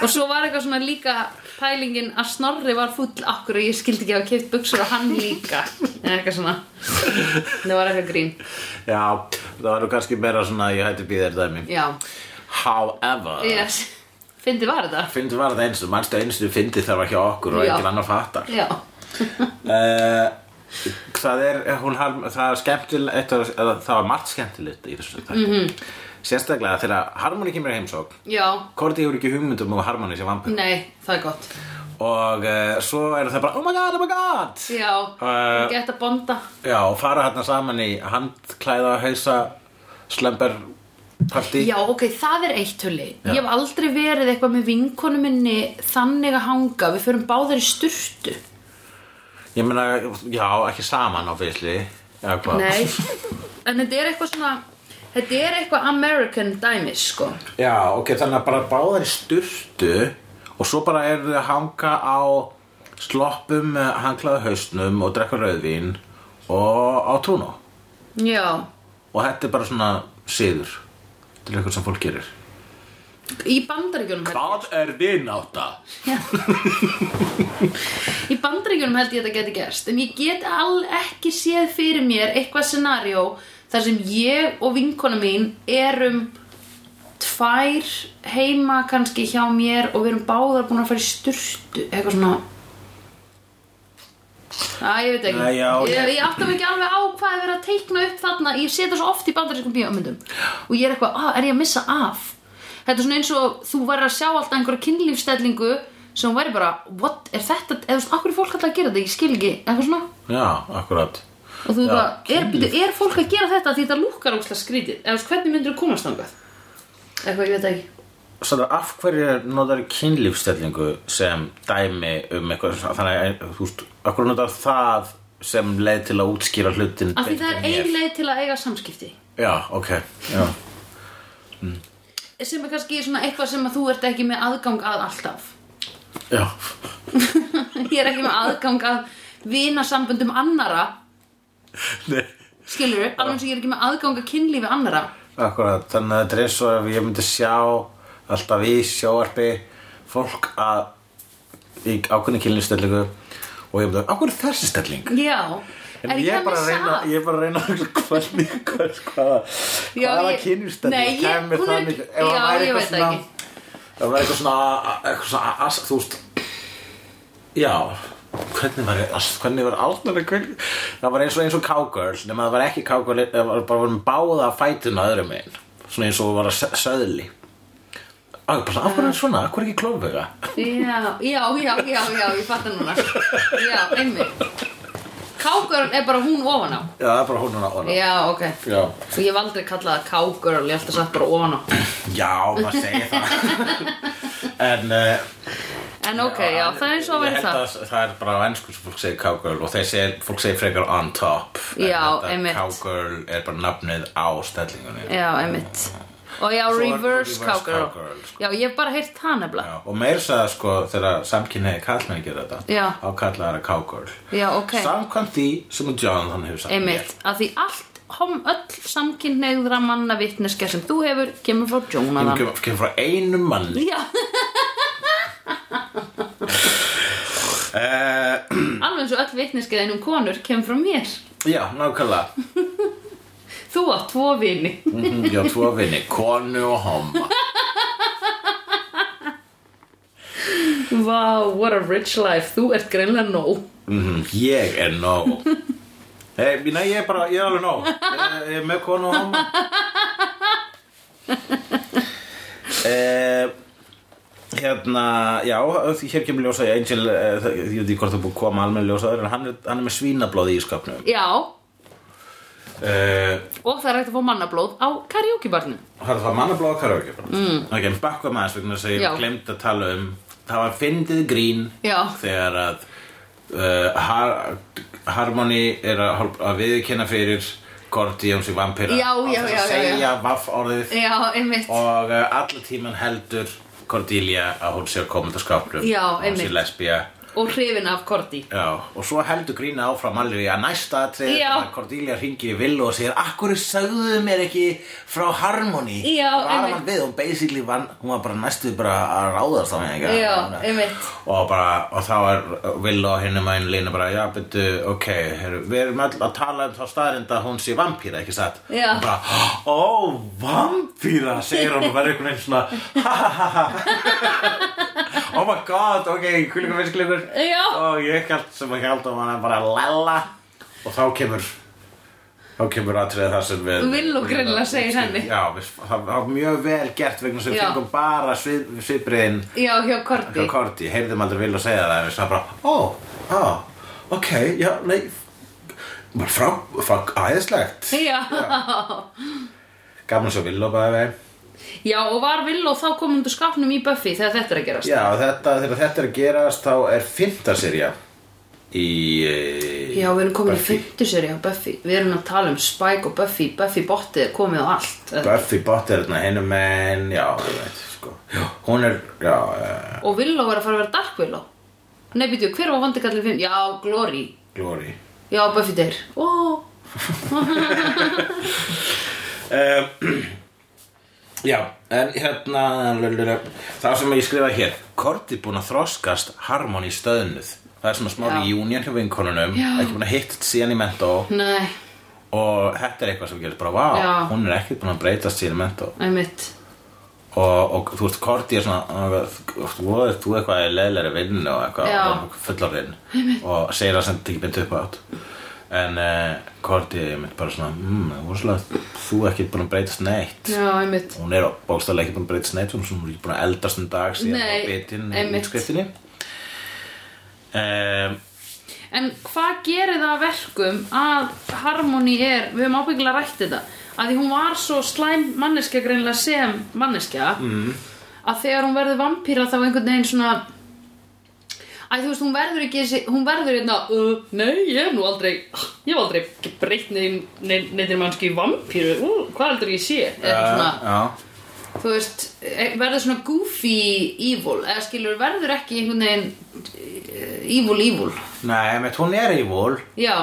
Speaker 1: og svo var eitthvað svona líka pælingin að Snorri var full okkur og ég skildi ekki að hafa keift buksur og hann líka en eitthvað svona það var eitthvað grín
Speaker 2: Já, það var nú kannski meira svona ég hætti býðir dæmi
Speaker 1: já,
Speaker 2: However
Speaker 1: yes. fyndi var þetta
Speaker 2: Fyndi var þetta eins og mannstu eins og fyndi þar var hjá okkur og
Speaker 1: Já.
Speaker 2: enginn annar fattar
Speaker 1: já,
Speaker 2: uh, Það er, hún har, það er skemmtilegt eða það var margt skemmtilegt í þessu þetta mm
Speaker 1: Mhm.
Speaker 2: -hmm. Sérstaklega þegar Harmony kemur í heimsók
Speaker 1: já,
Speaker 2: Korti hefur ekki hugmyndum og Harmony sé vampir
Speaker 1: nei, það er gott
Speaker 2: Og uh, svo eru það bara, oh my god, oh my god
Speaker 1: já,
Speaker 2: Eh,
Speaker 1: uh, gett að bonda
Speaker 2: Já, og fara hérna saman í handklæða, hausa, slember partí
Speaker 1: Já, ok, það er eitt hulli.
Speaker 2: Já.
Speaker 1: Ég hef aldrei verið eitthvað með vinkonu minni þannig að hanga. Við förum báðar í sturtu.
Speaker 2: Ég meina, já, ekki saman á fyrstli Eða hvað
Speaker 1: Nei, en þetta er eitthvað svona, þetta er eitthvað American dæmi, sko.
Speaker 2: Já, ok, þannig að bara báðar í sturtu Og svo bara er þið að hanga á sloppum hanglaða hausnum og drekka rauðvín og á túnu
Speaker 1: Já,
Speaker 2: og þetta er bara svona siður til eitthvað sem fólk gerir
Speaker 1: í bandaríkjunum held,
Speaker 2: Hvað er vináta?
Speaker 1: í bandaríkjunum held ég þetta geti gerst. En ég get all ekki séð fyrir mér eitthvað scenario þar sem ég og vinkonu mín erum tvær heima kannski hjá mér og við erum báðar búin að fara í sturtu eitthvað svona Æ, ég veit ekki
Speaker 2: Nei, já,
Speaker 1: ég,
Speaker 2: ég-
Speaker 1: ég átta mig ekki alveg á hvað er verið að teikna upp þarna ég seta svo oft í bandarískum bíómyndum og ég er eitthvað, ah, er ég að missa af þetta er svona eins og þú væri að sjá alltaf einhverja kynlífstellingu sem hún væri bara, what, er þetta eða svona, akkur er fólk alltaf að gera þetta, ég skil ekki eitthvað svona,
Speaker 2: Já, akkurat
Speaker 1: og þú
Speaker 2: Já,
Speaker 1: er bara, er, byrju, er fólk að gera þetta því þetta lúkar óslega skrítið, eða þú veist, hvernig myndir þú komast þangað eitthvað, ég veit það ekki
Speaker 2: Svona, af hverju notar kynlífstellingu sem dæmi um eitthvað þannig að, þú veist, af hverju notar það sem leið til að útskýra hlutin
Speaker 1: af því það er
Speaker 2: betur en ég?
Speaker 1: ein leið til að eiga samskipti
Speaker 2: Já, ok já.
Speaker 1: sem er kannski svona eitthvað sem að þú ert ekki með aðgang að alltaf
Speaker 2: Já.
Speaker 1: ég er ekki með aðgang að vinasamböndum annara
Speaker 2: Nei,
Speaker 1: skilur við, alveg eins og ég er ekki með aðgang að kynlífi annara
Speaker 2: Akkurat, þannig að þetta er svo ef ég myndi sjá alltaf í sjóarpi fólk að í ákveðni kynlýfstellingu og ég myndi, af hverju er þessi stelling?
Speaker 1: já,
Speaker 2: En
Speaker 1: er
Speaker 2: ég
Speaker 1: ekki
Speaker 2: er
Speaker 1: að
Speaker 2: bara að
Speaker 1: missa
Speaker 2: reyna,
Speaker 1: af?
Speaker 2: ég er bara að reyna að hvernig, hvað, sko, hvaða,
Speaker 1: Já, ég-
Speaker 2: hvaða
Speaker 1: Nei,
Speaker 2: kynlýfstelling
Speaker 1: ég-
Speaker 2: kemur
Speaker 1: hún er
Speaker 2: þannig,
Speaker 1: ekki-
Speaker 2: ef það
Speaker 1: já,
Speaker 2: væri
Speaker 1: ég
Speaker 2: eitthvað
Speaker 1: veit það
Speaker 2: svona,
Speaker 1: ekki.
Speaker 2: ef það væri eitthvað svona, eitthvað svona, as- þú veist, já, hvernig var, hvernig var aldrei, hvernig, það var eins og eins og cowgirl, nema það var ekki cowgirl, það var bara um báða fætuna öðrum einn, svona eins og var að sö- söðli. Á, ég bara svona, af hverju er svona, af hverju ekki klófuga?
Speaker 1: Já, já, já, já, já, ég fatta núna Já, einmitt Cowgirl er bara hún ofan á
Speaker 2: Já, það er bara hún hún á hana.
Speaker 1: Já, ok
Speaker 2: Já.
Speaker 1: Og ég hef aldrei kallað það cowgirl, ég hef alltaf sagt bara ofan á
Speaker 2: Já, maður segir það. en, uh,
Speaker 1: En ok, já, það er eins og að
Speaker 2: Ég
Speaker 1: vera
Speaker 2: held
Speaker 1: það
Speaker 2: að það er bara á ennsku sem fólk segir cowgirl og þeir segir, fólk segir frekar on top En
Speaker 1: Já,
Speaker 2: þetta
Speaker 1: einmitt.
Speaker 2: cowgirl er bara nafnið á stellingunni
Speaker 1: Já, einmitt Og já,
Speaker 2: Svo er
Speaker 1: reverse
Speaker 2: reverse
Speaker 1: cowgirl
Speaker 2: cowgirl, sko.
Speaker 1: Já, ég hef bara heyrt það nefnilega
Speaker 2: Já, og meir sagði sko þegar samkynniði kallmenn gera þetta
Speaker 1: Já.
Speaker 2: á kallaðara cowgirl
Speaker 1: Já, ok
Speaker 2: samkvæmt því sem Jonathan hefur sagt
Speaker 1: Einmitt, að því allt Hom öll samkynneigðra manna vitneskja sem þú hefur kemur frá
Speaker 2: mér. Hún
Speaker 1: Jonathan
Speaker 2: kemur kemur frá einum manni
Speaker 1: Já,
Speaker 2: uh,
Speaker 1: alveg eins og öll vitneskja einum konur kemur frá mér
Speaker 2: Já, nákvæmlega
Speaker 1: Þú átt tvo vini
Speaker 2: Mhm, Já, tvo vinni, konu og homma
Speaker 1: Vá, what a rich life, þú ert greinlega nóg
Speaker 2: Mhm, Ég er nóg Nei, nei, ég er bara, ég er alveg nóg Ég- Ég er með konu og homma eh, Hérna, já, hér kemur ljósa í Angel, eh, það- ég veit ekki hvort það er búið að koma almenn ljósaður En hann er, hann er með svínablóð í skapnum
Speaker 1: Já,
Speaker 2: eh,
Speaker 1: og það er hægt að fá mannablóð á karaokebarnum
Speaker 2: Hörðu það, mannablóð og karaoke bara mm. Ok, en bakka maður vegna þess að
Speaker 1: Já.
Speaker 2: ég glemt að tala um Það var fyndið grín
Speaker 1: Já.
Speaker 2: Þegar að uh, har, Harmony er að, hálp- að viðkynna fyrir Korti Jóns í Vampira
Speaker 1: Já, já, já, já,
Speaker 2: Að
Speaker 1: já.
Speaker 2: segja vaff orðið
Speaker 1: Já, einmitt
Speaker 2: Og uh, allir tíman heldur Cordelia að hún sé að koma til skápnum
Speaker 1: Já,
Speaker 2: Og Hún
Speaker 1: einmitt.
Speaker 2: sé lesbía
Speaker 1: Og hrifin af Korti
Speaker 2: Já, og svo heldur grína áfram alveg að næsta atrið
Speaker 1: Já.
Speaker 2: að Cordelia ringir í Villu og segir Akkur sagðuðu mér ekki frá Harmony
Speaker 1: Já,
Speaker 2: var
Speaker 1: einmitt.
Speaker 2: hann við og basically vann, hún var bara næstuð bara að ráðast á mig ekki?
Speaker 1: Já,
Speaker 2: Hún-
Speaker 1: einmitt.
Speaker 2: og, bara, og þá er Villu og hinn um einn lína bara Já, betu, ok, heru, við erum all að tala um þá staðrind að hún sé vampíra, ekki satt?
Speaker 1: Já.
Speaker 2: Hún bara, ó, vampíra, segir hún og verður einhvern veginn svona Ha, ha, ha, ha Oh my god, ok, kulingar fisklingur
Speaker 1: Já.
Speaker 2: Og ég held sem að held að hann er bara að lella Og þá kemur Þá kemur aðtrið það sem við
Speaker 1: Willó greinilega segir henni.
Speaker 2: Já, við, það það var mjög vel gert vegna sem við
Speaker 1: Já.
Speaker 2: fengum bara svip, svipriðin
Speaker 1: Já, hjá Korti
Speaker 2: Hjá Korti, heyrðum aldrei vil að segja það Við sagði bara, ó, á, ok, já, nei Bara frá, frá, æðislegt
Speaker 1: Já.
Speaker 2: Gaman svo vil og bara veginn
Speaker 1: Já, og var Villó þá komundu skapnum í Buffy þegar þetta er að gerast
Speaker 2: Já, þetta, þegar þetta er að gerast þá er fymta serja í eh,
Speaker 1: Já, við erum komin
Speaker 2: Buffy.
Speaker 1: í 50 seri á Buffy Við erum að tala um Spike og Buffy Buffy bottið er komið á allt
Speaker 2: Buffy Botter, hérna, hennu menn, já, ég veit, sko já. Hún er, já, uh,
Speaker 1: Og Willow var að fara að vera Dark Willow Nei, býttu, hver var vandikallin 5? Já, Glory
Speaker 2: Glory
Speaker 1: Já, Buffy deyr Ó,
Speaker 2: uh, Já, en hérna lululul, Það sem ég skrifa hér Korti búin að þroskast Harmony stöðnuð Það er svona smá
Speaker 1: Já.
Speaker 2: reunion hjá vinkonunum
Speaker 1: Já.
Speaker 2: Ekki búin að hitt síðan í mentó
Speaker 1: nei,
Speaker 2: Og þetta er eitthvað sem gerist bara, vá,
Speaker 1: Já.
Speaker 2: hún er ekkert búin að breytast síðan í mentó
Speaker 1: einmitt
Speaker 2: og, og þú veist, Korti er svona uh, þú veist, þú eitthvað er leðlega vinn og
Speaker 1: Já.
Speaker 2: eitthvað fullarinn og segir það sem þetta ekki beint upp á átt en uh, Korti er mynd bara svona mm, vorslega, þú er ekki búin að breytast neitt
Speaker 1: Já, einmitt
Speaker 2: hún er bókstæðlega ekki búin að breytast neitt hún er svona ekki búin að eldast um dag síðan
Speaker 1: Nei,
Speaker 2: á bitinn í
Speaker 1: einmitt.
Speaker 2: útskriftinni um,
Speaker 1: En hvað gerir það að verkum að Harmony er, við höfum ábyggilega rætt þetta að því hún var svo slæm manneskja greinlega sem manneskja mm. að þegar hún verður vampíra þá einhvern veginn svona Æ, þú veist, hún verður ekki þessi, hún verður hérna, uh, nei, ég hef nú aldrei, ég hef aldrei breytt neinn neinn neinn mannski í vampíru, uh, hvað heldur ég sé? Eða svona,
Speaker 2: eh, já,
Speaker 1: þú veist, e- verður svona goofy evil, eða skilur, verður ekki einhvern veginn eh, evil evil.
Speaker 2: nei, með hún er í vol
Speaker 1: Já,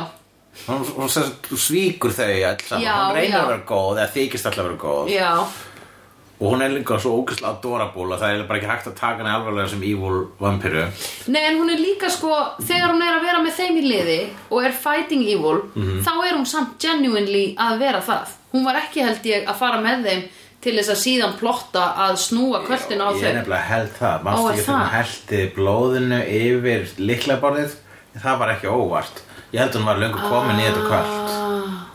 Speaker 2: hún, hún sem sagt svíkur þau alls saman,
Speaker 1: Já,
Speaker 2: hún reynir
Speaker 1: já.
Speaker 2: að vera góð eða þykist alltaf að vera góð
Speaker 1: já,
Speaker 2: og hún er líka svo ógæslega adorable að það er bara ekki hægt að taka henni alvarlega sem evil vampiru
Speaker 1: Nei, en hún er líka sko, þegar hún er að vera með þeim í liði og er fighting evil,
Speaker 2: Mhm.
Speaker 1: þá er hún samt genuinely að vera það. Hún var ekki held ég að fara með þeim til þess að síðan plotta að snúa kvöldin á
Speaker 2: ég er
Speaker 1: þau.
Speaker 2: nefnilega held það
Speaker 1: Ó,
Speaker 2: manstu
Speaker 1: er
Speaker 2: ekki þegar
Speaker 1: það?
Speaker 2: hún heldi blóðinu yfir liklaborðið það var ekki óvart ég held hún var löngu
Speaker 1: Ah.
Speaker 2: komin í þetta kvöld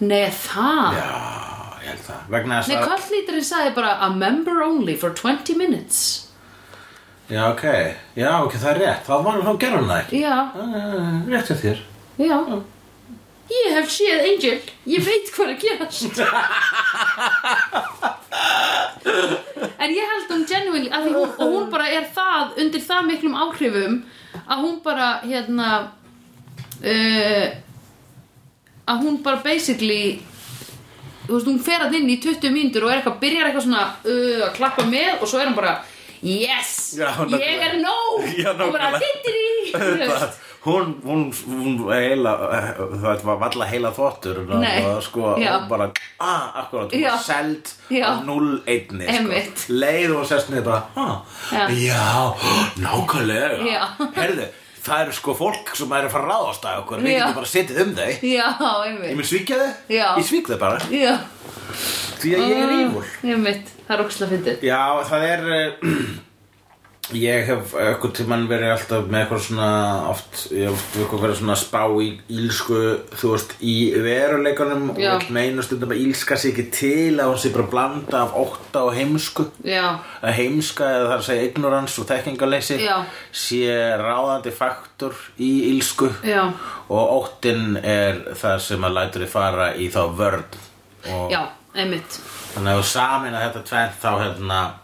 Speaker 1: Nei, það.
Speaker 2: já, ég held það vegna þess
Speaker 1: Nei,
Speaker 2: að
Speaker 1: kvöldlíturinn sagði bara a member only for 20 minutes.
Speaker 2: já, ok, já, ok, það er rétt þá, var, þá gerði hún það ekki
Speaker 1: Já,
Speaker 2: uh, rétt hjá þér
Speaker 1: já. Ég hef séð Angel, ég veit hvað er að gerast. En ég held hún genuinely að því hún, og hún bara er það undir það miklum áhrifum að hún bara hérna uh, að hún bara basically þú veist, hún fer að inn í 20 mínútur og er eitthvað, byrjar eitthvað svona uh, að klappa með og svo er hún bara yes,
Speaker 2: Já, nákvæmlega.
Speaker 1: ég er nóg
Speaker 2: Já,
Speaker 1: og bara
Speaker 2: nákvæmlega.
Speaker 1: dittir í
Speaker 2: Það- hún, hún, hún heila, það var valla heila þvottur og
Speaker 1: Nei.
Speaker 2: og sko,
Speaker 1: Já.
Speaker 2: hún bara, ah, akkurat, hún
Speaker 1: Já.
Speaker 2: var seld
Speaker 1: Já.
Speaker 2: á 0-1
Speaker 1: Einmitt.
Speaker 2: sko. leið og sest niður bara, ah,
Speaker 1: Já.
Speaker 2: já, nákvæmlega
Speaker 1: Já.
Speaker 2: herðu, það eru sko fólk sem er að fara að ráðast að okkur, við
Speaker 1: Já.
Speaker 2: getum bara setið um þau
Speaker 1: já,
Speaker 2: ég
Speaker 1: einmitt
Speaker 2: mun svíkja þau,
Speaker 1: Já. Mm.
Speaker 2: ég svík þau bara
Speaker 1: já,
Speaker 2: því að ég er ívul
Speaker 1: einmitt, það er ókslega fyndið
Speaker 2: já, það er eh, Ég hef eitthvað tímann verið alltaf með eitthvað svona oft, ég hef oft eitthvað verið svona að spá í ílsku, þú veist, í veruleikunum og
Speaker 1: Já.
Speaker 2: vill meina stundum að ílska sé ekki til að hún sé bara blanda af ótta og heimsku
Speaker 1: Já,
Speaker 2: að heimska eða það er að segja ignorans og þekkingaleysi
Speaker 1: Já.
Speaker 2: sé ráðandi faktur í ílsku
Speaker 1: Já.
Speaker 2: og óttin er það sem að lætur þið fara í þá vörn og
Speaker 1: já, einmitt
Speaker 2: þannig að þú samin að þetta tvennt þá hérna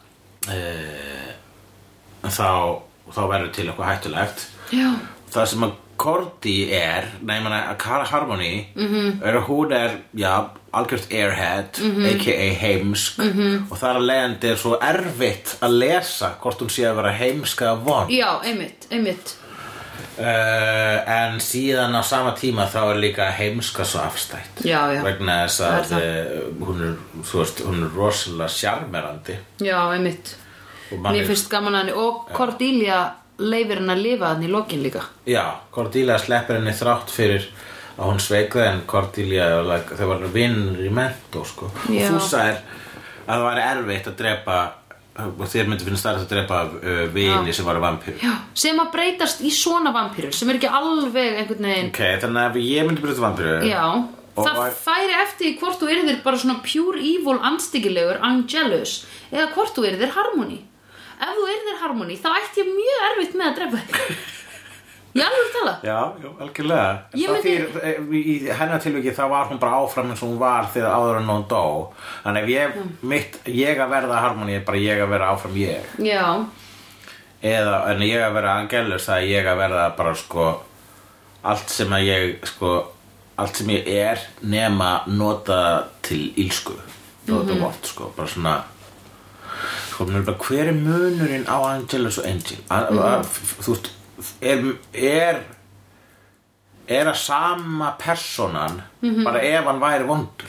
Speaker 2: e, þá, þá verður til eitthvað hættulegt
Speaker 1: Já,
Speaker 2: það sem að Korti er nei, ég meina, að Cara Harmony
Speaker 1: Mhm.
Speaker 2: -hmm. er að hún er, já, algjört airhead aka heimsk -hmm.
Speaker 1: Mhm.
Speaker 2: og það er að leiðandi er svo erfitt að lesa hvort hún sé að vera heimska eða von
Speaker 1: já, einmitt, einmitt
Speaker 2: uh, en síðan á sama tíma þá er líka heimska svo afstætt
Speaker 1: Já, já.
Speaker 2: vegna þess
Speaker 1: Það er
Speaker 2: að
Speaker 1: það.
Speaker 2: uh, hún, er, þú veist, hún er rosalega sjarmerandi
Speaker 1: Já, einmitt
Speaker 2: og mann
Speaker 1: Mér
Speaker 2: er-
Speaker 1: finnst gaman að henni og Cordelia leifir henni að lifa hann í lokin líka
Speaker 2: Já, Cordelia sleppir henni þrátt fyrir að hún sveikði en Cordelia, like, þau var vinnur í mentó, sko.
Speaker 1: Já.
Speaker 2: Þú sagðir að það væri erfitt að drepa, og þér myndi finnst það að drepa uh, vini sem var vampíru.
Speaker 1: Já, sem að breytast í svona vampýrur sem er ekki alveg einhvern veginn
Speaker 2: Ok, þannig að ef ég myndi breyta vampíru.
Speaker 1: Já,
Speaker 2: Og
Speaker 1: það
Speaker 2: var-
Speaker 1: færi eftir því hvort þú yrðir bara svona pure evil anstíkilegur, angelus eða hvort þú yrðir harmony Ef þú yrðir harmony, þá ætti ég mjög erfitt með að drepa þig Ég alveg tala
Speaker 2: Já, já, algjörlega. En
Speaker 1: Ég
Speaker 2: það
Speaker 1: myndi-
Speaker 2: þýðir, eh, í hennar tilviki þá var hún bara áfram eins og hún var þegar áður en hún dó. Þannig ef ég, mitt, ég að verða harmoni er bara ég að vera áfram ég.
Speaker 1: Já,
Speaker 2: eða, en ég að vera angelus það er ég að verða bara sko allt sem að ég sko allt sem ég er nema nota til ílsku nota mm vort sko, bara svona sko, mér er bara, hver er munurinn á angelus og angel a, a, þú veist er, er er að sama personan bara ef hann væri vondur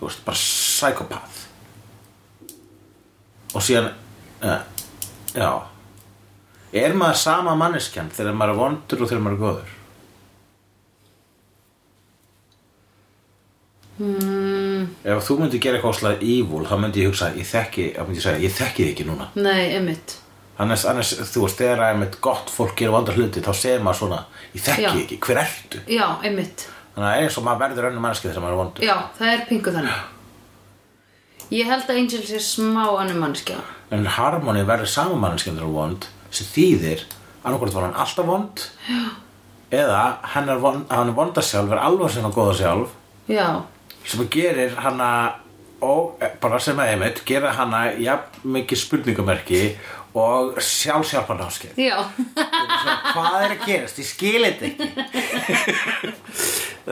Speaker 2: þú veist, bara psychopath og síðan uh, já Er maður sama manneskjan þegar maður er vondur og þegar maður er góður? Mm. Ef þú myndir gera eitthvað slag evil, þá myndi ég hugsa, ég þekki, þá myndi ég segja, ég þekki þig ekki núna.
Speaker 1: nei, einmitt
Speaker 2: Annars, annars þú veist, þegar að einmitt gott fólk gerir vondar hluti, þá segir maður svona, ég þekki
Speaker 1: Já.
Speaker 2: þig ekki, hver ertu?
Speaker 1: Já, einmitt
Speaker 2: Þannig að eins og maður verður önnum manneskja þegar maður er vondur.
Speaker 1: Já, það er pingu þannig Ég held að Angel sé smá annum mannskja
Speaker 2: En harmoni verður sama manneskja þegar maður er vond, sem þýðir, annarkvort var hann alltaf vond, Já. eða hann er, von, hann er vonda sjálf, er alveg sinna góða sjálf,
Speaker 1: Já,
Speaker 2: sem gerir hana og bara sem að einmitt gera hana jafn mikið spurningamerki og sjálfsjálfan áskeið
Speaker 1: já,
Speaker 2: hvað er að gerast, ég skil þetta ekki ég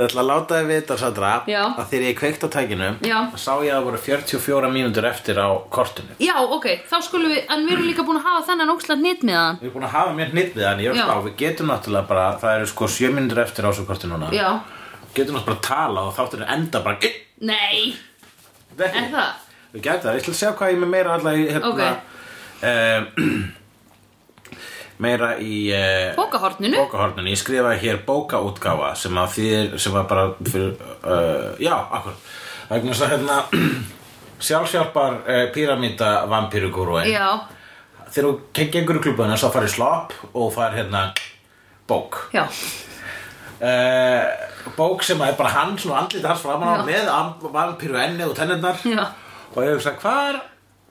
Speaker 2: ætla að láta þið vita Sandra
Speaker 1: Já.
Speaker 2: að þegar ég kveikt á tækinu
Speaker 1: Já.
Speaker 2: sá ég að það voru 44 mínútur eftir á kortinu
Speaker 1: já, ok Þá skulum við, en við erum líka búin að hafa þennan óksla hnit með hann
Speaker 2: við erum búin að hafa mér hnitt við hann ég er
Speaker 1: Já.
Speaker 2: að spá, við getum náttúrulega bara það eru sko 7 mínútur eftir á þessu kortinu núna
Speaker 1: Já,
Speaker 2: getum náttúrulega bara að tala og þáttur enda bara
Speaker 1: nei, er það?
Speaker 2: Við gætum það, ég ætla að sjá hvað ég er með meira allavega í hérna
Speaker 1: Ok.
Speaker 2: okay. meira í uh,
Speaker 1: Bókahorninu?
Speaker 2: bókahorninu, ég skrifaði hér bókaútgáfa sem að þýðir, sem var bara fyrir, uh, já, akkur vegna þess að hérna sjálfsjálpar uh, píramíta vampírugúrúin
Speaker 1: Já,
Speaker 2: þegar þú ke- gengur í klubuna svo farið slopp og farið hérna bók
Speaker 1: já,
Speaker 2: uh, bók sem er bara hann svona andlítið hans framan á
Speaker 1: Já.
Speaker 2: með am- vampíru enni og tennirnar
Speaker 1: já
Speaker 2: og ég hugsa hvað er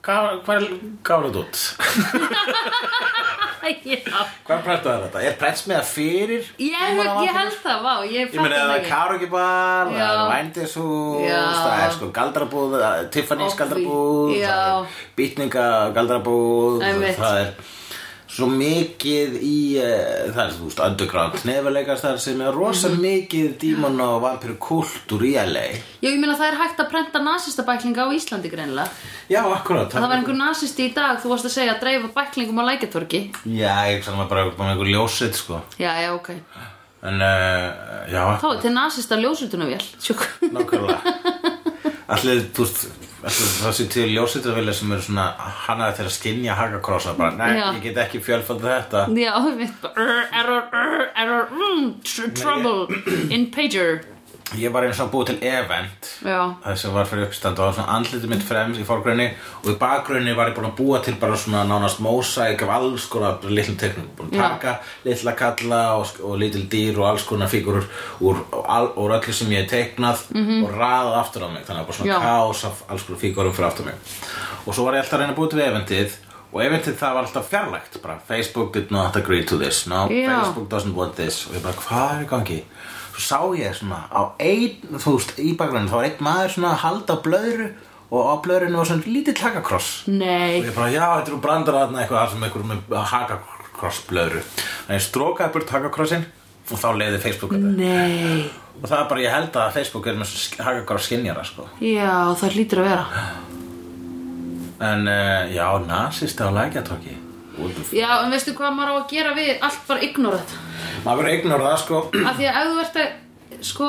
Speaker 2: hvað hvað er gáðið út
Speaker 1: Já,
Speaker 2: hvað prentaði þetta er prentsmiða fyrir
Speaker 1: ég, ég held það, vá, ég
Speaker 2: ég
Speaker 1: fatta
Speaker 2: meina það
Speaker 1: það
Speaker 2: er
Speaker 1: ekki
Speaker 2: karokibar það er
Speaker 1: Já.
Speaker 2: vændishús
Speaker 1: Já.
Speaker 2: það er sko galdrabúð eh, Tiffany's
Speaker 1: Obvi.
Speaker 2: galdrabúð
Speaker 1: Já.
Speaker 2: það er býtninga galdrabúð
Speaker 1: Einmitt.
Speaker 2: það er svo mikið í uh, það er þú veist underground nefuleikast þar sem er rosa
Speaker 1: Mhm.
Speaker 2: mikið dímon og vampir kultúr í LA
Speaker 1: Já, ég meina það er hægt að prenta nasista bæklinga á Íslandi greinlega
Speaker 2: já akkurat
Speaker 1: Það var einhver nasisti í dag, þú varst að segja að dreifa bæklingum á lækjartorki
Speaker 2: já ég sann maður bara með einhver ljósið sko
Speaker 1: Já, já, ok
Speaker 2: en uh, já
Speaker 1: Þá er til nasista ljósutunavél, sjók
Speaker 2: Nákvæmlega Allir, þú veist Allir það sé til ljósitavili sem eru svona hannaði til að skinja hakakrossa bara, nei,
Speaker 1: Já.
Speaker 2: ég get ekki fjölfaldið þetta
Speaker 1: Já, Hmm, við error, error, error, error mm, tr trouble in pager
Speaker 2: ég var eins og að búið til event
Speaker 1: Já.
Speaker 2: það sem var fyrir uppstand og það var svona andlitið mitt fremst í forgrunni og í bakgrunni var ég búin að búa til bara svona nánast mósæk af alls konar litlum teknum búin að
Speaker 1: Já.
Speaker 2: taka litla kalla og, og litil dýr og alls konar fígurur úr, al, úr öllu sem ég hef teiknað og raðað aftur á mig þannig að bara svona
Speaker 1: Mhm. Já.
Speaker 2: kaos af alls konar fígurum fyrir aftur á mig og svo var ég alltaf að reyna að búa til eventið og eventið það var alltaf fjarlægt bara Facebook did not agree to this no,
Speaker 1: Já.
Speaker 2: Facebook doesn't want this og ég bara, hvað er í gangi? Svo sá ég svona á einn, þú veist, í bakgrunni þá var einn maður svona að halda á blöðru og á blöðrinu var svona lítið hakakross og
Speaker 1: Nei.
Speaker 2: ég bara, já, þetta eru brandar þarna eitthvað þar sem einhver með hakakross blöðru þannig ég strókaði burt hakakrossin og þá leiði Facebook þetta
Speaker 1: Nei.
Speaker 2: og það er bara, ég held að Facebook er með svona hakakross skinjara, sko
Speaker 1: Já, það hlýtur að vera.
Speaker 2: en uh, já, nasist á lækjatóki
Speaker 1: Já, en veistu hvað maður á að gera við allt bara ignora þetta.
Speaker 2: maður verður eignur það, sko
Speaker 1: Af því að ef þú ert að, sko,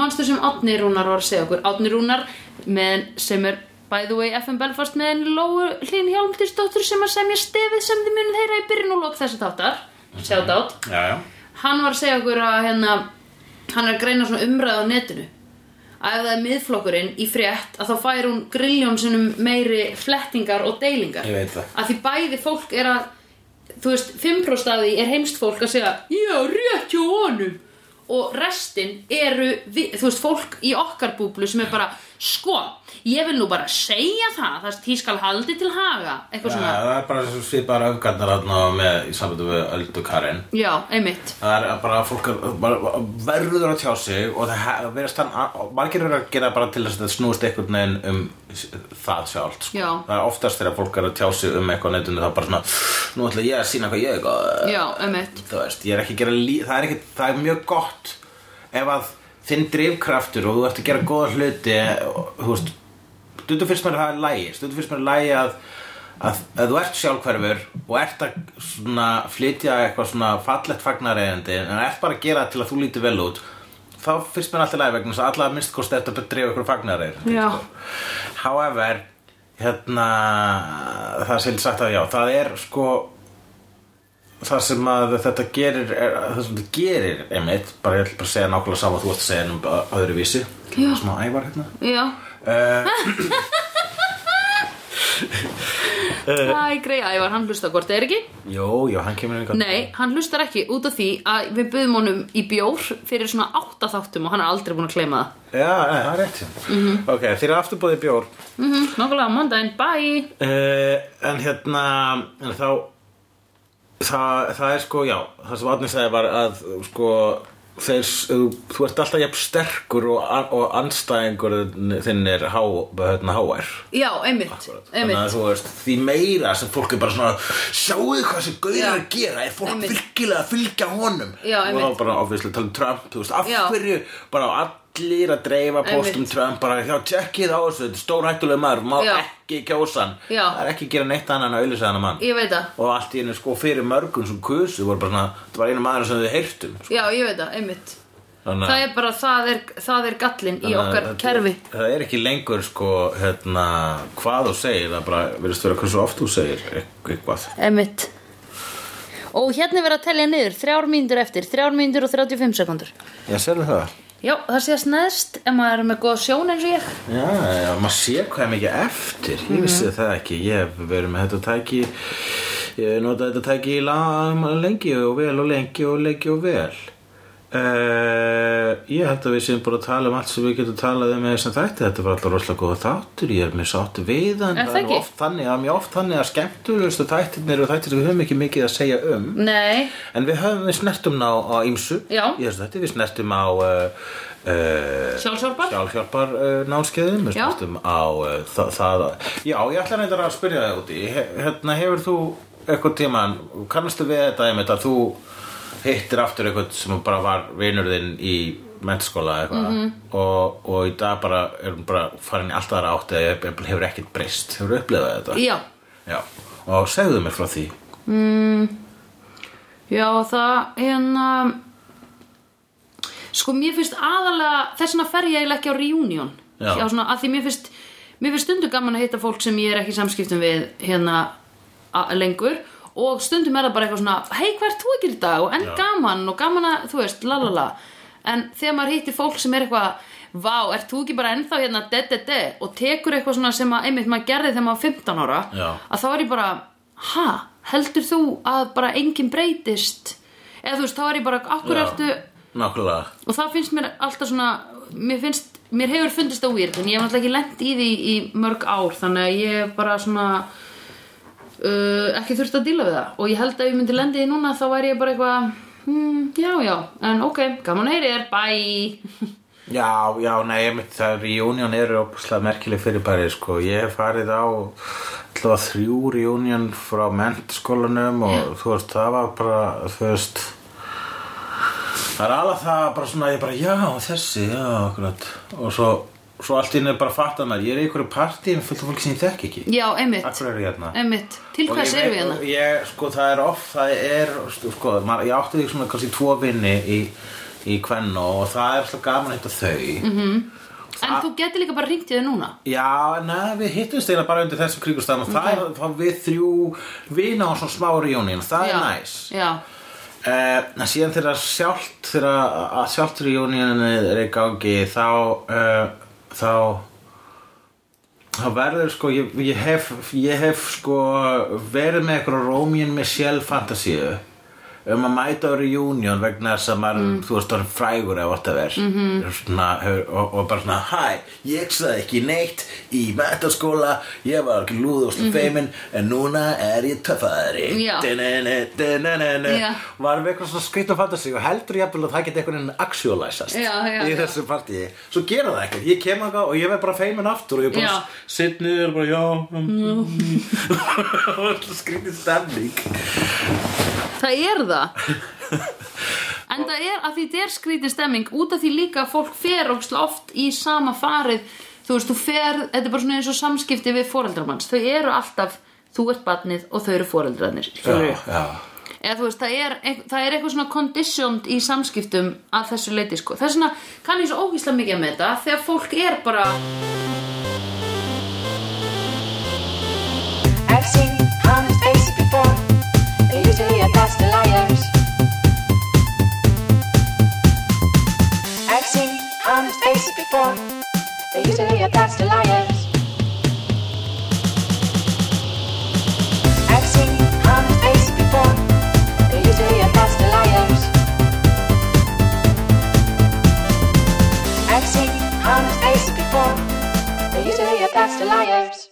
Speaker 1: mannstu sem Átni Rúnar var að segja okkur. Átni Rúnar með, sem er, by the way, FM Belfast með henni Lóu Hlín Hjálmdísdóttur sem að semja stefið sem þið munið heyra í byrjun og lók þessi þáttar. Sjátt átt.
Speaker 2: já, já,
Speaker 1: Hann var að segja okkur að hérna, hann er að greina svona umræð á netinu að ef það er miðflokkurinn í frétt að þá fær hún grilljón sinum meiri flettingar og deilingar
Speaker 2: Ég veit það.
Speaker 1: að því bæði fólk er að þú veist, 5% af því er heimst fólk að segja já, rétt hjá honum og restin eru við, þú veist, fólk í okkar búblu sem er bara, sko, ég vil nú bara segja það, það því skal haldi til haga eitthvað
Speaker 2: Já,
Speaker 1: svona,
Speaker 2: það er bara svo svipaðar öfgarnar þarna með í sambandi við Öldu Karin
Speaker 1: já, einmitt
Speaker 2: það er bara að fólk er- bara verður að tjá sig og það he- verðast þann að- margir eru að gera bara til þess að þetta snúist einhvern veginn um s- það sjálft sko.
Speaker 1: Já.
Speaker 2: það er oftast þegar fólk er að tjá sig um eitthvað á netinu þá bara svona, nú ætla ég að sína hvað ég er góð
Speaker 1: já, einmitt,
Speaker 2: þú veist, ég er ekki að gera lí það er, ekki, það er mjög gott ef að þinn drifkraftur og þú ert að gera góða hluti og, þú veist, stundum finnst mér að það er lægi stundum finnst mér að lægi að að, að þú ert sjálfhverfur og ert að svona flytja eitthvað svona fallegt fagnareyðandi en ert bara að gera það til að þú lítur vel út þá finnst mér alltaf lægi vegna þess að alla minnst kosti eftir að drifa ykkur fagnareyðandi
Speaker 1: já,
Speaker 2: However, hérna, það sem ég sagt að já, það er sko, það sem að þetta gerir, er, það sem þetta gerir, einmitt, bara ég ætla bara að segja nákvæmlega sama og þú ert að segja um öðru vísi,
Speaker 1: Já.
Speaker 2: smá ævar hérna.
Speaker 1: já
Speaker 2: Uh, Eh.
Speaker 1: Æ, greið, ævar, hann hlusta hvort er ekki
Speaker 2: jó, já, hann kemur einhvern
Speaker 1: Nei, hann hlustar ekki út af því að við buðum honum í bjór fyrir svona átta þáttum og hann er aldrei búin að kleima það.
Speaker 2: Já, nei, það er rétt. Mm
Speaker 1: Mhm.
Speaker 2: -hmm. Ok, þeir eru afturbúðið bjór.
Speaker 1: Mm
Speaker 2: Mhm.
Speaker 1: -hmm. Nákvæmlega á mondaginn, bye!
Speaker 2: Uh, en hérna, en þá, það, það er sko, já, það sem Átni sagði var að, sko, þeir, þú, þú ert alltaf jafn sterkur og, og anstæðingur þinn er há, hérna, háær.
Speaker 1: Já, einmitt,
Speaker 2: Þannig að
Speaker 1: einmitt.
Speaker 2: þú veist, því meira sem fólk er bara svona, sjáu hvað sem gauðir
Speaker 1: Já.
Speaker 2: að gera, er fólk
Speaker 1: Einmitt.
Speaker 2: virkilega að fylgja honum.
Speaker 1: Já,
Speaker 2: og
Speaker 1: einmitt.
Speaker 2: þá bara ofislega tala um Trump, þú veist, af
Speaker 1: Já.
Speaker 2: hverju bara allir að dreifa postum
Speaker 1: Einmitt.
Speaker 2: Trump, bara hjá tjekkið á þessu, þetta er stórhættulega maður, má
Speaker 1: Já.
Speaker 2: ekki kjósa hann.
Speaker 1: Já.
Speaker 2: Það er ekki að gera neitt annan að auðlýsa hann að mann.
Speaker 1: Ég veit það,
Speaker 2: Og allt í einu sko fyrir mörgum sem kusu, voru bara svona, þetta var einu maður sem þau heyrtum. sko.
Speaker 1: já, ég veit það, einmitt.
Speaker 2: Þannig að-
Speaker 1: Það er bara, það er, það er gallin í
Speaker 2: Þannig að
Speaker 1: okkar
Speaker 2: þetta-
Speaker 1: kerfi.
Speaker 2: Það er ekki lengur sko, hérna, hvað þú segir, það bara verðist vera hversu oft þú segir eit- eitthvað.
Speaker 1: Einmitt. Og hérna er verið að tellja niður, þrjár mínútur eftir, þrjár mínútur og 35 sekundur.
Speaker 2: Já, sérðu það?
Speaker 1: Já, það séast neðst ef maður er með góða sjón eins og ég.
Speaker 2: Já, já, maður sé hvað er mikið eftir, ég vissi það ekki, ég hef verið með þetta tæki, ég hef notað þetta tæki í lang, lengi og vel og lengi og lengi og vel. Uh, ég held að við séum bara að tala um allt sem við getum talað um með þessum þætti, þetta var alltaf rosalega góða þáttur, ég er mér sátt við hann,
Speaker 1: Er það
Speaker 2: nú
Speaker 1: ekki?
Speaker 2: oft þannig, það er mjög oft þannig að skemmtulegustu þættirnir eru þættir sem við höfum ekki mikið að segja um.
Speaker 1: Nei,
Speaker 2: En við höfum við snertum á, á ímsu
Speaker 1: Já.
Speaker 2: Ég veist þetta, við snertum á uh, uh,
Speaker 1: sjálfsjálfbar.
Speaker 2: sjálfhjálpar uh, námskeiðum Við
Speaker 1: Já.
Speaker 2: snertum á uh, þa það Já, ég ætla reyndar að spyrja það úti He Hérna, hefur þú eitthvað tíman Kannastu við þetta einmitt að þú hittir aftur eitthvað sem bara var vinur þinn í mentaskóla eða eitthvað
Speaker 1: Mhm.
Speaker 2: og, og í dag bara erum bara farin í alltaf aðra átt eða jafnvel hefur ekkert breyst Hefur upplifað þetta?
Speaker 1: Já,
Speaker 2: Já, og segðu mér frá því
Speaker 1: já, það, hérna... Sko, mér finnst aðalega, þess vegna fer ég eiginlega ekki á reunion
Speaker 2: Já.
Speaker 1: svona, að því mér finnst, mér finnst stundum gaman að hitta fólk sem ég er ekki í samskiptum við hérna a- lengur og stundum er það bara eitthvað svona hei, hvað ert þú að gera í dag og enn gaman og gaman að, þú veist, lalala en þegar maður hittir fólk sem er eitthvað Vá, ert þú ekki bara ennþá hérna de, de, de, og tekur eitthvað svona sem að, einmitt maður gerði þegar maður var 15 ára
Speaker 2: Já.
Speaker 1: að þá er ég bara, ha, heldur þú að bara enginn breytist eða þú veist, þá er ég bara, akkur
Speaker 2: Já.
Speaker 1: ertu
Speaker 2: nákvæmlega
Speaker 1: og það finnst mér alltaf svona mér, finnst, mér hefur fundist það weird en ég hef náttúrulega ekki lent í því í mörg ár þannig að ég hef bara svona uh, ekki þurft að díla við það og ég held að ef ég myndi lendi í því núna þá væri ég bara eitthvað hmm, já, já, en ok, gaman heyri þér, bye
Speaker 2: Já, já, nei, ég myndi það reunion eru opuslega merkileg fyrirbæri, sko ég hef farið á allavega þrjú reunion frá mentskólanum og þú veist, það var bara þú veist það er alveg það bara svona, ég bara, já, þessi, já, akkurat og svo, svo allt í einu bara fatt hana ég er í einhverju partíum fullt af fólki sem ég þekk ekki
Speaker 1: já, einmitt,
Speaker 2: Akkur er ég hérna
Speaker 1: einmitt til
Speaker 2: Og
Speaker 1: hvers
Speaker 2: ég
Speaker 1: erum
Speaker 2: veit-
Speaker 1: við hérna?
Speaker 2: Ég, sko, það er oft, það er, sko, maður, ég átti því svona kannski tvo vinni í, í kvennu og það er alltaf gaman að hitta þau. Mm -hmm.
Speaker 1: en þú getur líka bara ringt í þau núna
Speaker 2: Já, neða, við hittumst eiginlega bara undir þessum kringustæðum og það er þá við þrjú vina á svona smá reunion, það
Speaker 1: já,
Speaker 2: er næs.
Speaker 1: já,
Speaker 2: Eh, En síðan þegar sjálft, þegar að sjálft reunioninu er í gangi, þá, uh, þá, þá verður sko, ég, ég, hef, ég hef sko verið með eitthvað Rómíun með sjálf fantasíu um að mæta á reunion vegna þess að maður, þú veist, orðin frægur eða whatever mm -hmm. svona, og, og bara svona, hæ, ég sagði ekki neitt í metaskóla ég var ekki lúðust mm feimin en núna er ég töffaðari
Speaker 1: Já.
Speaker 2: Dinini, dinini.
Speaker 1: Já.
Speaker 2: var með eitthvað svona skrýt og fantasi og heldur jafnvel að það geti einhvern veginn actualizast
Speaker 1: Já, já,
Speaker 2: í
Speaker 1: já.
Speaker 2: þessu partíi svo gera það ekkert, ég kem þangað og ég verð bara feimin aftur og ég bara
Speaker 1: Já.
Speaker 2: sitt niður og bara já og skrýtið stemning
Speaker 1: það er það En það er að því þetta er skrítið stemming út af því líka að fólk fer óksla oft í sama farið þú veist, þú fer, þetta er bara svona eins og samskipti við foreldramanns, þau eru alltaf þú ert barnið og þau eru foreldrarnir skilurðu?
Speaker 2: já,
Speaker 1: eða þú veist, það er, eit- það er eitthvað svona conditioned í samskiptum að þessu leiti sko, það er svona, kann ég svo ógísla mikið með þetta, þegar fólk er bara
Speaker 3: I've seen honest faces before. They're usually a pass to liars. I've seen honest faces before. They're usually a pass to liars. I've seen honest faces before. They're usually a pass to liars. I've seen honest faces before. They're usually a pass to liars.